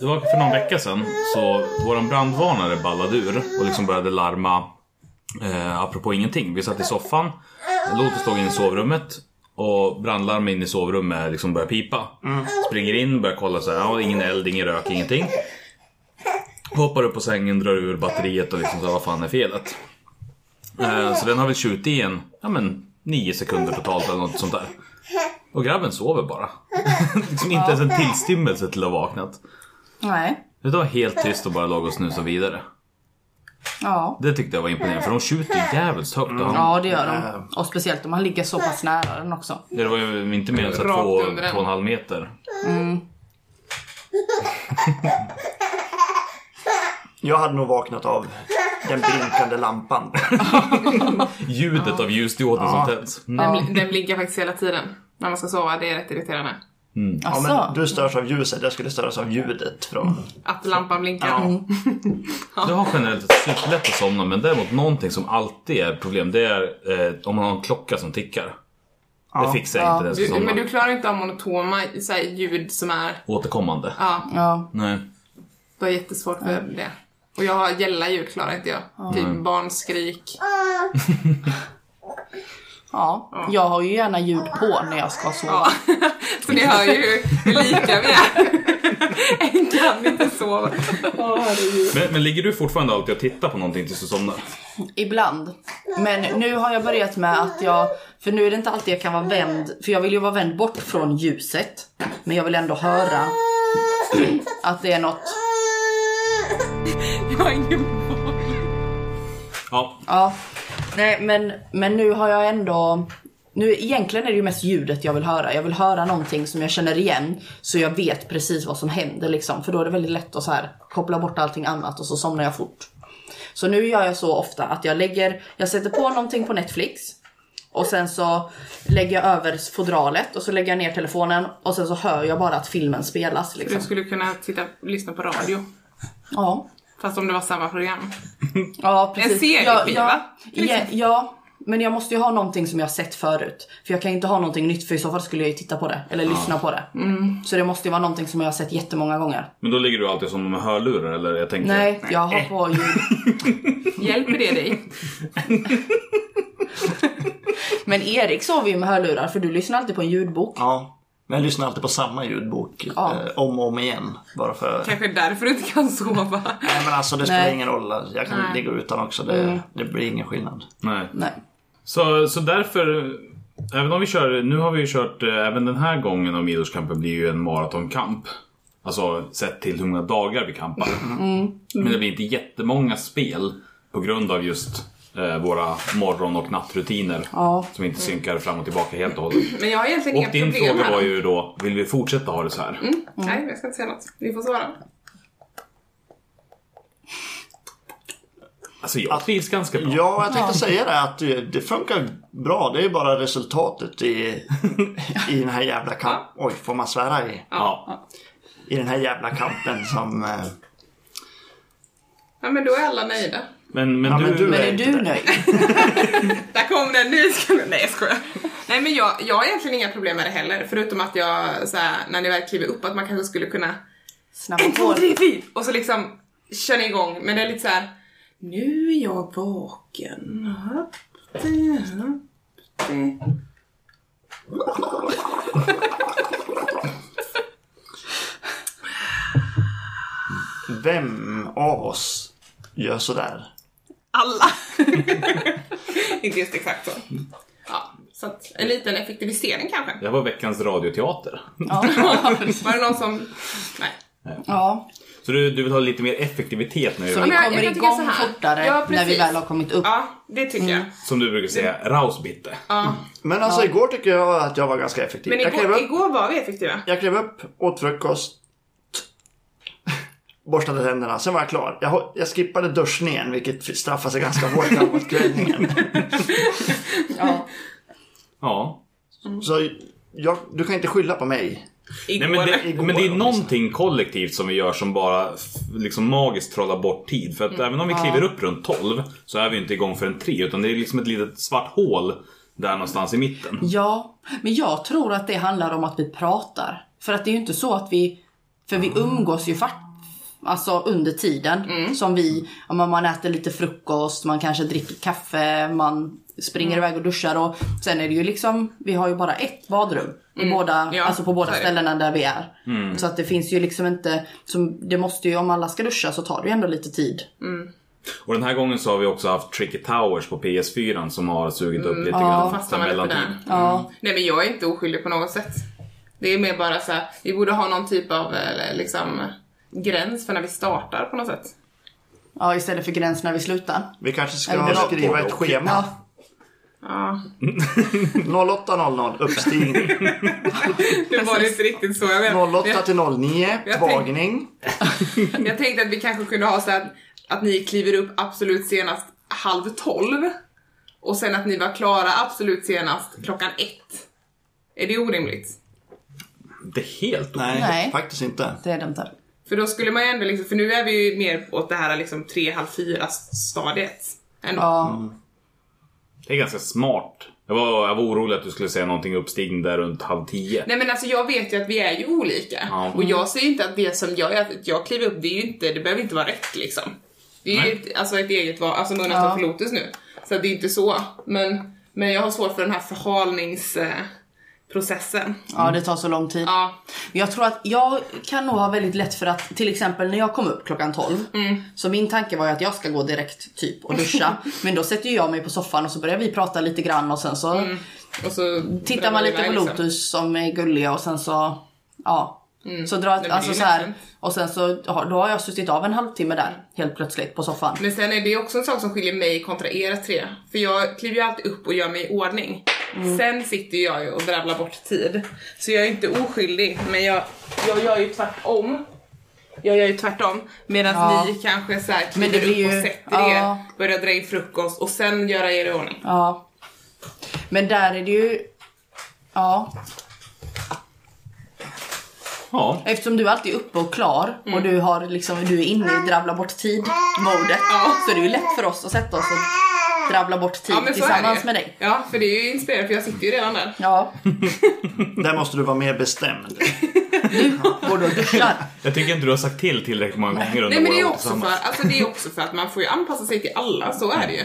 Speaker 1: Det var för någon vecka sedan så våran brandvarnare ballade ur och liksom började larma eh, apropå ingenting. Vi satt i soffan, Lotus låg inne i sovrummet och brandlarm in i sovrummet liksom börjar pipa. Springer in, börjar kolla så här, ja, ingen eld, ingen rök, ingenting. Hoppar upp på sängen, drar ur batteriet och liksom så här, vad fan är felet? Eh, så den har väl tjutit i en, ja men 9 sekunder totalt eller något sånt där. Och grabben sover bara. [laughs] liksom inte ens en tillstymmelse till att ha vaknat.
Speaker 4: Nej.
Speaker 1: Det var helt tyst och bara låg och snusade vidare.
Speaker 4: Ja.
Speaker 1: Det tyckte jag var imponerande för de skjuter ju jävligt högt.
Speaker 2: Mm.
Speaker 1: Och han,
Speaker 4: Ja, det gör
Speaker 3: Eh.
Speaker 4: de. Och speciellt om han ligger så pass nära den också.
Speaker 1: det var ju inte mer än så här
Speaker 2: Rakt
Speaker 1: två,
Speaker 2: under den.
Speaker 1: två och en halv meter.
Speaker 3: Jag hade nog vaknat av den blinkande lampan.
Speaker 1: Ljudet av ljusdioden
Speaker 3: Ja.
Speaker 1: som tänds. Mm.
Speaker 2: Den, bl- den blinkar faktiskt hela tiden. När man ska sova, det är rätt irriterande.
Speaker 3: Ja,
Speaker 4: Alltså.
Speaker 3: men du störs av ljuset, jag skulle störas av ljudet från...
Speaker 2: Att lampan blinkar.
Speaker 3: Ja.
Speaker 1: Jag har generellt superlätt att somna men däremot någonting som alltid är ett problem det är eh, om man har en klocka som tickar. Det
Speaker 3: Ja.
Speaker 1: fixar jag
Speaker 4: Ja.
Speaker 1: inte när jag ska
Speaker 2: Du,
Speaker 1: somna.
Speaker 2: men du klarar inte av monotoma så här, ljud som är...
Speaker 1: Återkommande.
Speaker 2: Ja,
Speaker 4: Ja.
Speaker 1: Nej.
Speaker 2: du har jättesvårt för det. Och jag har gälla ljud klarar inte jag. Typ barnskrik.
Speaker 4: ja. Jag har ju gärna ljud på när jag ska sova.
Speaker 2: Ja. Så ni hör ju hur lika vi är.
Speaker 1: [laughs]
Speaker 2: En kan inte sova.
Speaker 1: Men, men ligger du fortfarande alltid och tittar på någonting tills du somnar?
Speaker 4: Ibland. Men nu har jag börjat med att jag, för nu är det inte alltid jag kan vara vänd, för jag vill ju vara vänd bort från ljuset. Men jag vill ändå höra att det är något.
Speaker 2: Jag har ingen boll.
Speaker 1: Ja.
Speaker 4: Ja. Nej men, men nu har jag ändå, nu egentligen är det ju mest ljudet jag vill höra. Jag vill höra någonting som jag känner igen så jag vet precis vad som händer liksom. För då är det väldigt lätt att så här, koppla bort allting annat och så somnar jag fort. Så nu gör jag så ofta att jag lägger, jag sätter på någonting på Netflix Och sen så lägger jag över fodralet och så lägger jag ner telefonen och sen så hör jag bara att filmen spelas.
Speaker 2: Du
Speaker 4: Liksom.
Speaker 2: skulle kunna titta, lyssna på radio.
Speaker 4: Ja.
Speaker 2: Fast om det var samma program.
Speaker 4: ja, precis.
Speaker 2: En serieskiva,
Speaker 4: Ja, ja,
Speaker 2: till
Speaker 4: ja, ja, men jag måste ju ha någonting som jag har sett förut. För jag kan ju inte ha någonting nytt för i så fall skulle jag ju titta på det eller lyssna på det.
Speaker 2: Mm.
Speaker 4: Så det måste ju vara någonting som jag har sett jättemånga gånger.
Speaker 1: Men då ligger du alltid som med hörlurar eller? Jag tänker...
Speaker 4: Nej, jag har på
Speaker 2: [laughs]
Speaker 4: ljud.
Speaker 2: Hjälper det dig?
Speaker 4: Men Erik sover ju med hörlurar för du lyssnar alltid på en ljudbok.
Speaker 3: Ja. Men jag lyssnar alltid på samma ljudbok
Speaker 4: Ja.
Speaker 3: eh, om och om igen. Bara för...
Speaker 2: Kanske därför du inte kan sova.
Speaker 3: Nej men alltså det spelar
Speaker 4: Nej.
Speaker 3: ingen roll. Jag kan
Speaker 2: Nej.
Speaker 3: ligga utan också. Det, det blir ingen skillnad.
Speaker 1: Nej.
Speaker 4: Nej.
Speaker 1: Så, så därför, även om vi kör, nu har vi ju kört, eh, även den här gången av Midårskampen blir ju en maratonkamp. Alltså sett till hur många dagar vi kampar.
Speaker 2: Mm.
Speaker 1: Men det blir inte jättemånga spel på grund av just eh, våra morgon och nattrutiner.
Speaker 4: Ja.
Speaker 1: Som inte synkar fram och tillbaka helt och hållet.
Speaker 2: Men jag har egentligen
Speaker 1: Och
Speaker 2: inga
Speaker 1: din
Speaker 2: problem
Speaker 1: fråga
Speaker 2: här. Mm.
Speaker 1: var ju då, vill vi fortsätta ha det så här?
Speaker 2: Nej, jag ska inte säga något. Vi får svara.
Speaker 1: Alltså jag trivs ganska bra.
Speaker 3: Ja, jag tänkte säga det att det, det funkar bra. Det är ju bara resultatet i, i den här jävla kampen. Oj, får man svära i?
Speaker 1: Ja.
Speaker 3: I den här jävla kampen som... eh,
Speaker 2: Ja, men då är alla nöjda.
Speaker 1: Men, men,
Speaker 3: Ja,
Speaker 1: du,
Speaker 3: men du-
Speaker 4: Men är du
Speaker 2: [laughs]
Speaker 4: nöjd?
Speaker 2: Där kom den, nu ska du... Nej jag skojar. Nej men jag, jag har egentligen inga problem med det heller. Förutom att jag såhär, när ni väl kliver upp att man kanske skulle kunna
Speaker 4: Snabba
Speaker 2: en, två,
Speaker 4: på.
Speaker 2: tre, fyra och så liksom kör ni igång. Men det är lite så här. nu är jag vaken. Hopp, det, hopp, det.
Speaker 3: Vem av oss gör sådär?
Speaker 2: Alla. [laughs] Inte just exakt så. Ja, så att en liten effektivisering kanske.
Speaker 1: det här var veckans radioteater.
Speaker 2: Var det någon som... Nej.
Speaker 4: Ja.
Speaker 1: Så du, du vill ha lite mer effektivitet nu?
Speaker 4: Så vi
Speaker 2: jag- jag
Speaker 4: kommer
Speaker 2: kan tycka så
Speaker 4: igång
Speaker 2: här.
Speaker 4: fortare
Speaker 2: Ja,
Speaker 4: när vi
Speaker 2: precis.
Speaker 4: väl har kommit upp.
Speaker 2: Ja, det tycker jag.
Speaker 1: Som du brukar säga, rausbitte.
Speaker 2: Ja.
Speaker 3: Men alltså igår tycker jag att jag var ganska effektiv.
Speaker 2: Men
Speaker 3: jag, klev
Speaker 2: igår,
Speaker 3: upp,
Speaker 2: igår var vi effektiva.
Speaker 3: jag klev upp, åt frukost, borstade tänderna, sen var jag klar. Jag, ho- jag skippade duschningen vilket straffar sig ganska hårt framåt kvällningen.
Speaker 4: Ja.
Speaker 1: Ja.
Speaker 3: Så jag, du kan inte skylla på mig.
Speaker 1: Nej,
Speaker 2: Igår.
Speaker 1: men, det,
Speaker 3: Igår,
Speaker 1: men det är
Speaker 3: om
Speaker 1: någonting kollektivt som vi gör som bara f- liksom magiskt trollar bort tid. För att
Speaker 3: Mm.
Speaker 1: även om vi kliver upp runt 12 så är vi inte igång förrän 3 utan det är liksom ett litet svart hål där någonstans i mitten.
Speaker 4: Ja, men jag
Speaker 2: Ah.
Speaker 4: tror att det handlar om att vi pratar. För att det är ju inte så att vi... För vi umgås ju fa- Alltså under tiden
Speaker 2: Mm.
Speaker 4: som vi, ja, men man äter lite frukost, man kanske dricker kaffe, man
Speaker 2: Mm.
Speaker 4: springer iväg och duschar och sen är det ju liksom, vi har ju bara ett badrum. I båda,
Speaker 2: Mm. Ja,
Speaker 4: alltså på båda
Speaker 2: så är det. Mm.
Speaker 4: ställena där vi är. Så att det finns ju liksom inte, som, det måste ju om alla ska duscha så tar det ju ändå lite tid.
Speaker 2: Mm.
Speaker 1: Och den här gången så har vi också haft Tricky Towers på PS4 som har sugit
Speaker 3: Mm.
Speaker 1: upp lite
Speaker 2: Då
Speaker 1: grann. som
Speaker 2: fastnar man lite på
Speaker 1: mellantid.
Speaker 2: den. Mm. Nej men jag är inte oskyldig på något sätt. Det är mer bara så här, vi borde ha någon typ av eh, liksom gräns för när vi startar på något sätt.
Speaker 4: Ja, istället för gräns när vi slutar.
Speaker 3: Vi kanske ska
Speaker 4: Eller något-
Speaker 3: skriva ett schema.
Speaker 4: Ja.
Speaker 3: 08.00 uppstigning.
Speaker 2: Det var inte riktigt så jag menar.
Speaker 3: 08 till 09
Speaker 2: Jag tänk-
Speaker 3: tvagning.
Speaker 2: Jag, jag tänkte att vi kanske kunde ha så här, att ni kliver upp absolut senast halv tolv. Och sen att ni var klara absolut senast klockan ett. Är det orimligt?
Speaker 1: Det är helt
Speaker 3: Nej,
Speaker 4: Nej.
Speaker 3: faktiskt inte.
Speaker 4: Det är det inte.
Speaker 2: För då skulle man ju ändå liksom, för nu är vi ju mer åt det här liksom tre, halv fyra stadiet. Ändå.
Speaker 4: Ja.
Speaker 1: Det är ganska smart. Jag var, jag var orolig att du skulle säga någonting uppstigning där runt halv tio.
Speaker 2: Nej men alltså jag vet ju att vi är ju olika.
Speaker 1: Ja.
Speaker 2: Och jag ser ju inte att det som jag gör, att jag kliver upp, det är ju inte, det behöver inte vara rätt liksom. Det är ju ett, alltså ett eget val, alltså munnen står för Lotus nu. Så det är inte så. Men, men jag har svårt för den här förhalningsprocessen.
Speaker 4: ja, det tar så lång tid.
Speaker 2: Mm. Ja.
Speaker 4: Men Jag tror att jag kan nog ha väldigt lätt för att till exempel när jag kom upp klockan 12
Speaker 2: Mm.
Speaker 4: så min tanke var ju att jag ska gå direkt typ och
Speaker 2: [laughs]
Speaker 4: duscha. men då sätter ju jag mig på soffan och så börjar vi prata lite grann och sen så
Speaker 2: Och så
Speaker 4: tittar man lite på Lotus
Speaker 2: Mm. Liksom.
Speaker 4: som är gulliga och sen så ja. Så drar
Speaker 2: men Mm. det är
Speaker 4: alltså
Speaker 2: ju
Speaker 4: så här,
Speaker 2: lätt.
Speaker 4: och sen så ja, då har jag suttit av en halvtimme där helt plötsligt på soffan.
Speaker 2: Men sen är det ju också en sak som skiljer mig kontra er tre. För jag kliver ju alltid upp och gör mig i ordning.
Speaker 4: Mm.
Speaker 2: Sen sitter ju jag ju och drabblar bort tid. Så jag är inte oskyldig, men jag, jag gör ju tvärtom. Jag gör ju tvärtom. Medan
Speaker 4: Ja.
Speaker 2: ni kanske så här
Speaker 4: Men det
Speaker 2: kliver
Speaker 4: blir
Speaker 2: upp
Speaker 4: ju-
Speaker 2: och sätter
Speaker 4: ja.
Speaker 2: er, börjar dra in frukost och sen göra er i ordning.
Speaker 4: Ja. Men där är det ju ja,
Speaker 1: Ja,
Speaker 4: Eftersom du alltid är uppe och klar
Speaker 2: Mm.
Speaker 4: och du, har liksom, du är inne i drabbla bort tid-modet så är det ju lätt för oss att sätta oss och drabbla bort tid
Speaker 2: Ja, men så är det
Speaker 4: tillsammans
Speaker 2: ju.
Speaker 4: med dig.
Speaker 2: Ja, för det är ju inspirerande för jag sitter ju redan där.
Speaker 4: Ja,
Speaker 3: Där måste du vara mer bestämd.
Speaker 4: går du och
Speaker 2: [laughs]
Speaker 4: duschar.
Speaker 1: jag tycker inte du har sagt till tillräckligt många gånger under
Speaker 2: Nej men det är,
Speaker 1: våra år
Speaker 2: också för, alltså det är också för att man får ju anpassa sig till alla, så är det
Speaker 1: Mm.
Speaker 2: ju.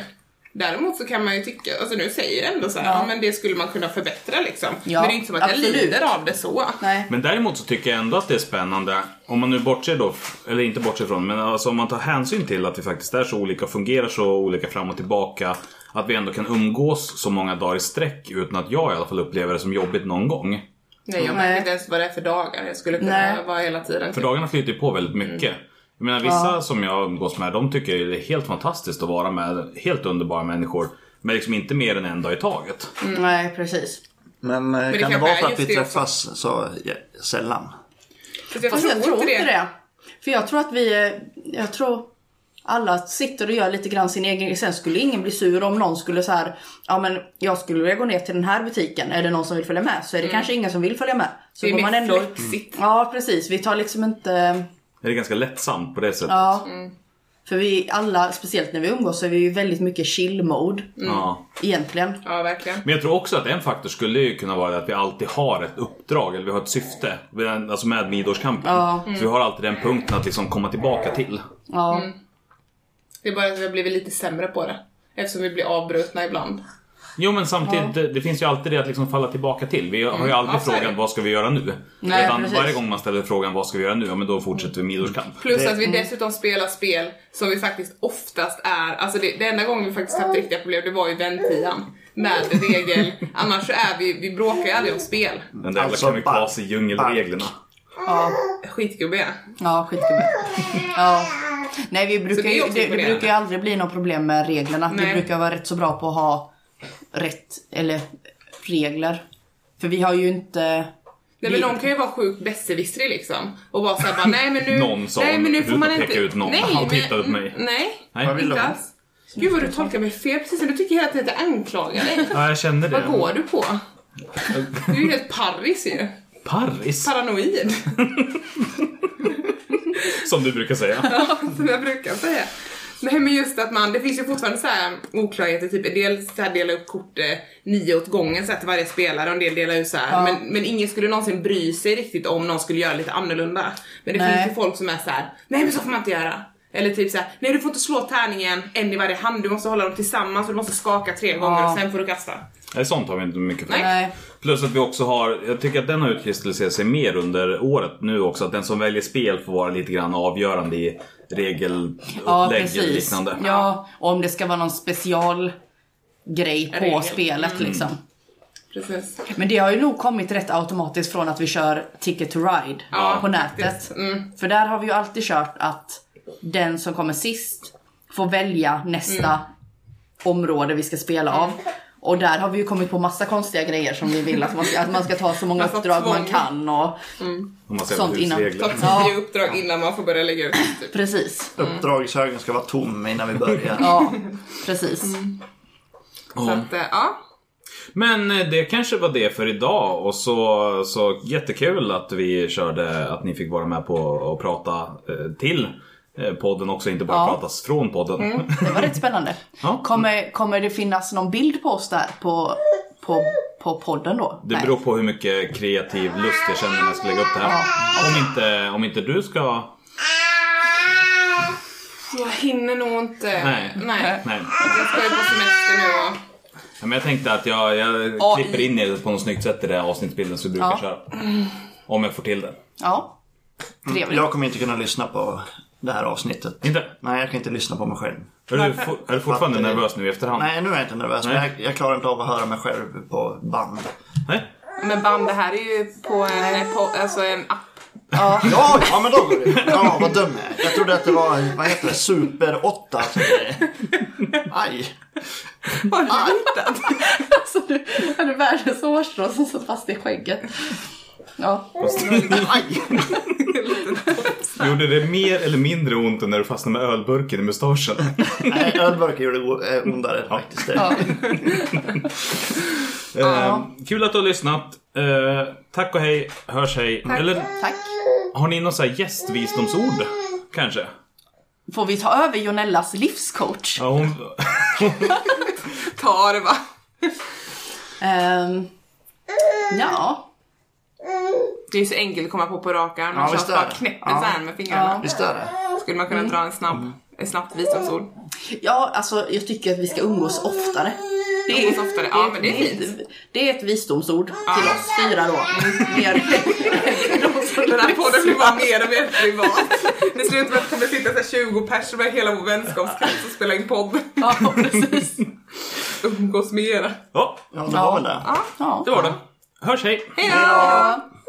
Speaker 2: Däremot så kan man ju tycka, alltså nu säger jag ändå så här,
Speaker 4: Ja.
Speaker 2: ja. men det skulle man kunna förbättra liksom.
Speaker 4: Ja,
Speaker 2: men det är ju inte som att
Speaker 4: absolut.
Speaker 2: jag lider av det så.
Speaker 4: Nej.
Speaker 1: Men däremot så tycker jag ändå att det är spännande, om man nu bortser då, eller inte bortser från, men alltså om man tar hänsyn till att vi faktiskt är så olika och fungerar så olika fram och tillbaka. Att vi ändå kan umgås så många dagar i sträck utan att jag i alla fall upplever det som jobbigt någon gång.
Speaker 2: Nej jag
Speaker 4: Nej.
Speaker 2: vet inte ens vad det är för dagar jag skulle kunna
Speaker 4: Nej.
Speaker 2: vara hela tiden.
Speaker 1: För dagarna flyter ju på väldigt mycket. Jag menar vissa som jag umgås med, de tycker det är helt fantastiskt att vara med. Helt underbara människor. Men liksom inte mer än en dag i taget.
Speaker 4: Mm, Nej, precis.
Speaker 3: Men, eh,
Speaker 2: det
Speaker 3: kan det
Speaker 2: kanske
Speaker 3: vara
Speaker 2: är
Speaker 3: för att
Speaker 2: just
Speaker 3: vi
Speaker 2: det också.
Speaker 3: träffas så ja, sällan?
Speaker 2: Fast jag,
Speaker 4: Fast
Speaker 2: tror
Speaker 4: jag tror
Speaker 2: inte det.
Speaker 4: För jag tror att vi, är- jag tror alla sitter och gör lite grann sin egen, sen skulle ingen bli sur om någon skulle så här, ja men jag skulle vilja gå ner till den här butiken, är det någon som vill följa med? Så är det kanske ingen som vill följa med. Så
Speaker 2: Mm. Det är
Speaker 4: går
Speaker 2: mer
Speaker 4: man ändå...
Speaker 2: flexigt.
Speaker 4: Ja precis, vi tar liksom inte
Speaker 1: Det är ganska lättsamt på det sättet.
Speaker 4: Ja. För vi alla, speciellt när vi umgås, så är vi ju väldigt mycket chill-mode
Speaker 1: Ja.
Speaker 4: egentligen.
Speaker 2: Ja verkligen.
Speaker 1: Men jag tror också att en faktor skulle ju kunna vara att vi alltid har ett uppdrag, eller vi har ett syfte. Vi är- Alltså med Midårskampen.
Speaker 4: Ja.
Speaker 1: Så vi har alltid den punkten att liksom komma tillbaka till.
Speaker 4: Ja.
Speaker 2: Mm. Det är bara att vi har blivit lite sämre på det. Eftersom vi blir avbrutna ibland.
Speaker 1: Jo men samtidigt, det, det finns ju alltid det att liksom falla tillbaka till. Vi har ju aldrig
Speaker 2: Mm. Ja, så är det.
Speaker 1: frågat vad ska vi göra nu?
Speaker 4: Nej,
Speaker 1: Utan
Speaker 4: precis.
Speaker 1: varje gång man ställer frågan vad ska vi göra nu? Ja men då fortsätter vi Midårskamp.
Speaker 2: Plus att
Speaker 1: mm.
Speaker 2: vi dessutom spelar spel som vi faktiskt oftast är, alltså det, det enda gången vi faktiskt haft riktiga problem det var ju ventian med regel, annars så är vi, vi bråkar ju aldrig om spel.
Speaker 1: Den där
Speaker 3: Alltså,
Speaker 1: jävla kamikaze i djungelreglerna.
Speaker 4: Ja,
Speaker 2: Skitgubbiga.
Speaker 4: ja skitgubbe. Ja. Nej, vi brukar,
Speaker 2: Så det är
Speaker 4: ju,
Speaker 2: också
Speaker 4: det, det
Speaker 2: imponerande.
Speaker 4: brukar ju aldrig bli något problem med reglerna. Vi
Speaker 2: Nej.
Speaker 4: brukar vara rätt så bra på att ha rätt, eller regler. För vi har ju inte...
Speaker 2: Nej men någon kan ju vara sjukt besserwissrig liksom och vara såhär bara nej men nu,
Speaker 1: Någon sa
Speaker 2: nej men nu
Speaker 1: du
Speaker 2: får man
Speaker 1: utan att
Speaker 2: inte.
Speaker 1: peka ut någon.
Speaker 2: Nej,
Speaker 1: Han
Speaker 2: men-
Speaker 1: tittade på mig.
Speaker 2: Nej,
Speaker 1: Nej.
Speaker 3: Vad vill
Speaker 2: inte
Speaker 3: du?
Speaker 2: alls. Gud vad du tolkar mig fel precis, du tycker hela tiden att jag anklagar dig.
Speaker 1: Ja, jag känner
Speaker 2: Vad
Speaker 1: det.
Speaker 2: går du på? Du är ju helt parris ju.
Speaker 1: Paris,
Speaker 2: Paranoid.
Speaker 1: som du brukar säga.
Speaker 2: [laughs] som jag Alltså, brukar säga. Nej men just att man, det finns ju fortfarande så här oklarheter, typ dels så här dela upp kort eh, nio åt gången så här till varje spelare och en del delar ut så här. Men, men ingen skulle någonsin bry sig riktigt om någon skulle göra lite annorlunda. Men det
Speaker 4: Nej.
Speaker 2: finns ju folk som är så här: nej men så får man inte göra. Eller typ såhär, nej du får inte slå tärningen en i varje hand, du måste hålla dem tillsammans och du måste skaka tre gånger
Speaker 4: Ja.
Speaker 2: och sen får du kasta.
Speaker 1: Nej, sånt har vi inte mycket för.
Speaker 2: Nej.
Speaker 4: Nej.
Speaker 1: Plus att vi också har, jag tycker att den har utkristalliserat sig mer under året nu också. Att den som väljer spel får vara lite grann avgörande i
Speaker 4: Ja,
Speaker 1: regelupplägg eller
Speaker 4: precis.
Speaker 1: liknande.
Speaker 4: Ja, och om det ska vara någon special grej på
Speaker 2: Regel. Mm.
Speaker 4: spelet liksom.
Speaker 2: Precis.
Speaker 4: Men det har ju nog kommit rätt automatiskt från att vi kör Ticket to Ride
Speaker 2: Ja,
Speaker 4: på nätet.
Speaker 2: faktiskt. Mm.
Speaker 4: För där har vi ju alltid kört att den som kommer sist får välja nästa
Speaker 2: Mm.
Speaker 4: område vi ska spela av. Och där har vi ju kommit på massa konstiga grejer som vi vill att man ska, att man ska ta så många
Speaker 2: Massa
Speaker 4: uppdrag man
Speaker 2: tvång.
Speaker 4: kan och
Speaker 1: Om man ser
Speaker 4: Sånt innan.
Speaker 1: husregler.
Speaker 2: Ta tio uppdrag innan man får börja lägga ut. Typ.
Speaker 4: precis.
Speaker 3: Mm. Uppdragshögen ska vara tom innan vi börjar.
Speaker 4: Ja, precis.
Speaker 2: Mm. Så att, eh, ja.
Speaker 1: Men eh, det kanske var det för idag och så, så jättekul att vi körde, att ni fick vara med på och prata eh, till eh, podden också, inte bara
Speaker 4: Ja. Mm.
Speaker 1: pratas från podden.
Speaker 4: Det var rätt spännande.
Speaker 1: Ja.
Speaker 4: Kommer, kommer det finnas någon bild på oss där på, på, på podden då?
Speaker 1: [laughs] Det beror på hur mycket kreativ lust jag känner när jag ska lägga upp det här. Om, inte, om inte du ska...
Speaker 2: Jag hinner nog inte.
Speaker 1: Nej.
Speaker 2: Nej.
Speaker 1: Nej.
Speaker 2: Jag ska ju på semester nu och...
Speaker 1: Men jag tänkte att jag, jag
Speaker 4: AI.
Speaker 1: klipper in er på något snyggt sätt i det här avsnittsbilden som vi brukar
Speaker 4: Ja.
Speaker 1: köra. Om jag får till det.
Speaker 4: Ja. Trevligt.
Speaker 3: Jag kommer inte kunna lyssna på det här avsnittet.
Speaker 1: Inte?
Speaker 3: Nej, jag kan inte lyssna på mig själv.
Speaker 1: Är du, for, är du fortfarande
Speaker 3: Fattar det.
Speaker 1: nervös nu i efterhand?
Speaker 3: Nej, nu är jag inte nervös. Men
Speaker 1: Nej.
Speaker 3: jag, jag klarar inte av att höra mig själv på band.
Speaker 1: Nej?
Speaker 2: Men band, det här är ju på en, på, alltså en app.
Speaker 3: Ja, ja men då går det. Ja, vad dum jag är. Jag trodde att det var, vad heter det, Super 8. som det är. Aj.
Speaker 2: Har du hittat?
Speaker 4: Alltså du hade världens hårstrå som satt fast i skägget. Ja,
Speaker 3: Aj.
Speaker 1: Gjorde det mer eller mindre ont än när du fastnade med ölburken i mustaschen?
Speaker 3: Nej, ölburkar gjorde o- eh, ondare faktiskt. Det.
Speaker 4: ja.
Speaker 1: Eh, kul att du har lyssnat. Eh, tack och hej. Hörs hej. Eller
Speaker 4: tack.
Speaker 1: har ni någon så här gästvisdomsord? Kanske?
Speaker 4: Får vi ta över Jonellas livscoach?
Speaker 1: Ja, hon...
Speaker 2: Ta det va.
Speaker 4: Ehm, ja,
Speaker 2: Det är ju så enkelt att komma på på rak arm. Man
Speaker 3: Ja, visst
Speaker 2: känns
Speaker 3: är
Speaker 2: bara
Speaker 3: det.
Speaker 2: knäppen
Speaker 3: Ja. Mm.
Speaker 2: så här med fingrarna.
Speaker 3: Visst är det?
Speaker 2: Skulle man kunna dra en snabb, ett snabbt visdomsord?
Speaker 4: ja, alltså jag tycker att vi ska umgås oftare. Det
Speaker 2: Umgås oftare, ja, men det är
Speaker 4: ett- Det är ett visdomsord till oss fyra då. Mer,
Speaker 2: Den här podden blir bara mer och mer privat. Det slutar med att det kommer sitta så här 20 pers över hela vår vänskapskrets och spela in podd.
Speaker 4: ja, precis.
Speaker 2: Umgås mera.
Speaker 1: Ja,
Speaker 3: Ja, det var väl det.
Speaker 4: Ja.
Speaker 1: det var det. Hörs hej.
Speaker 2: Hej då!
Speaker 4: Ja.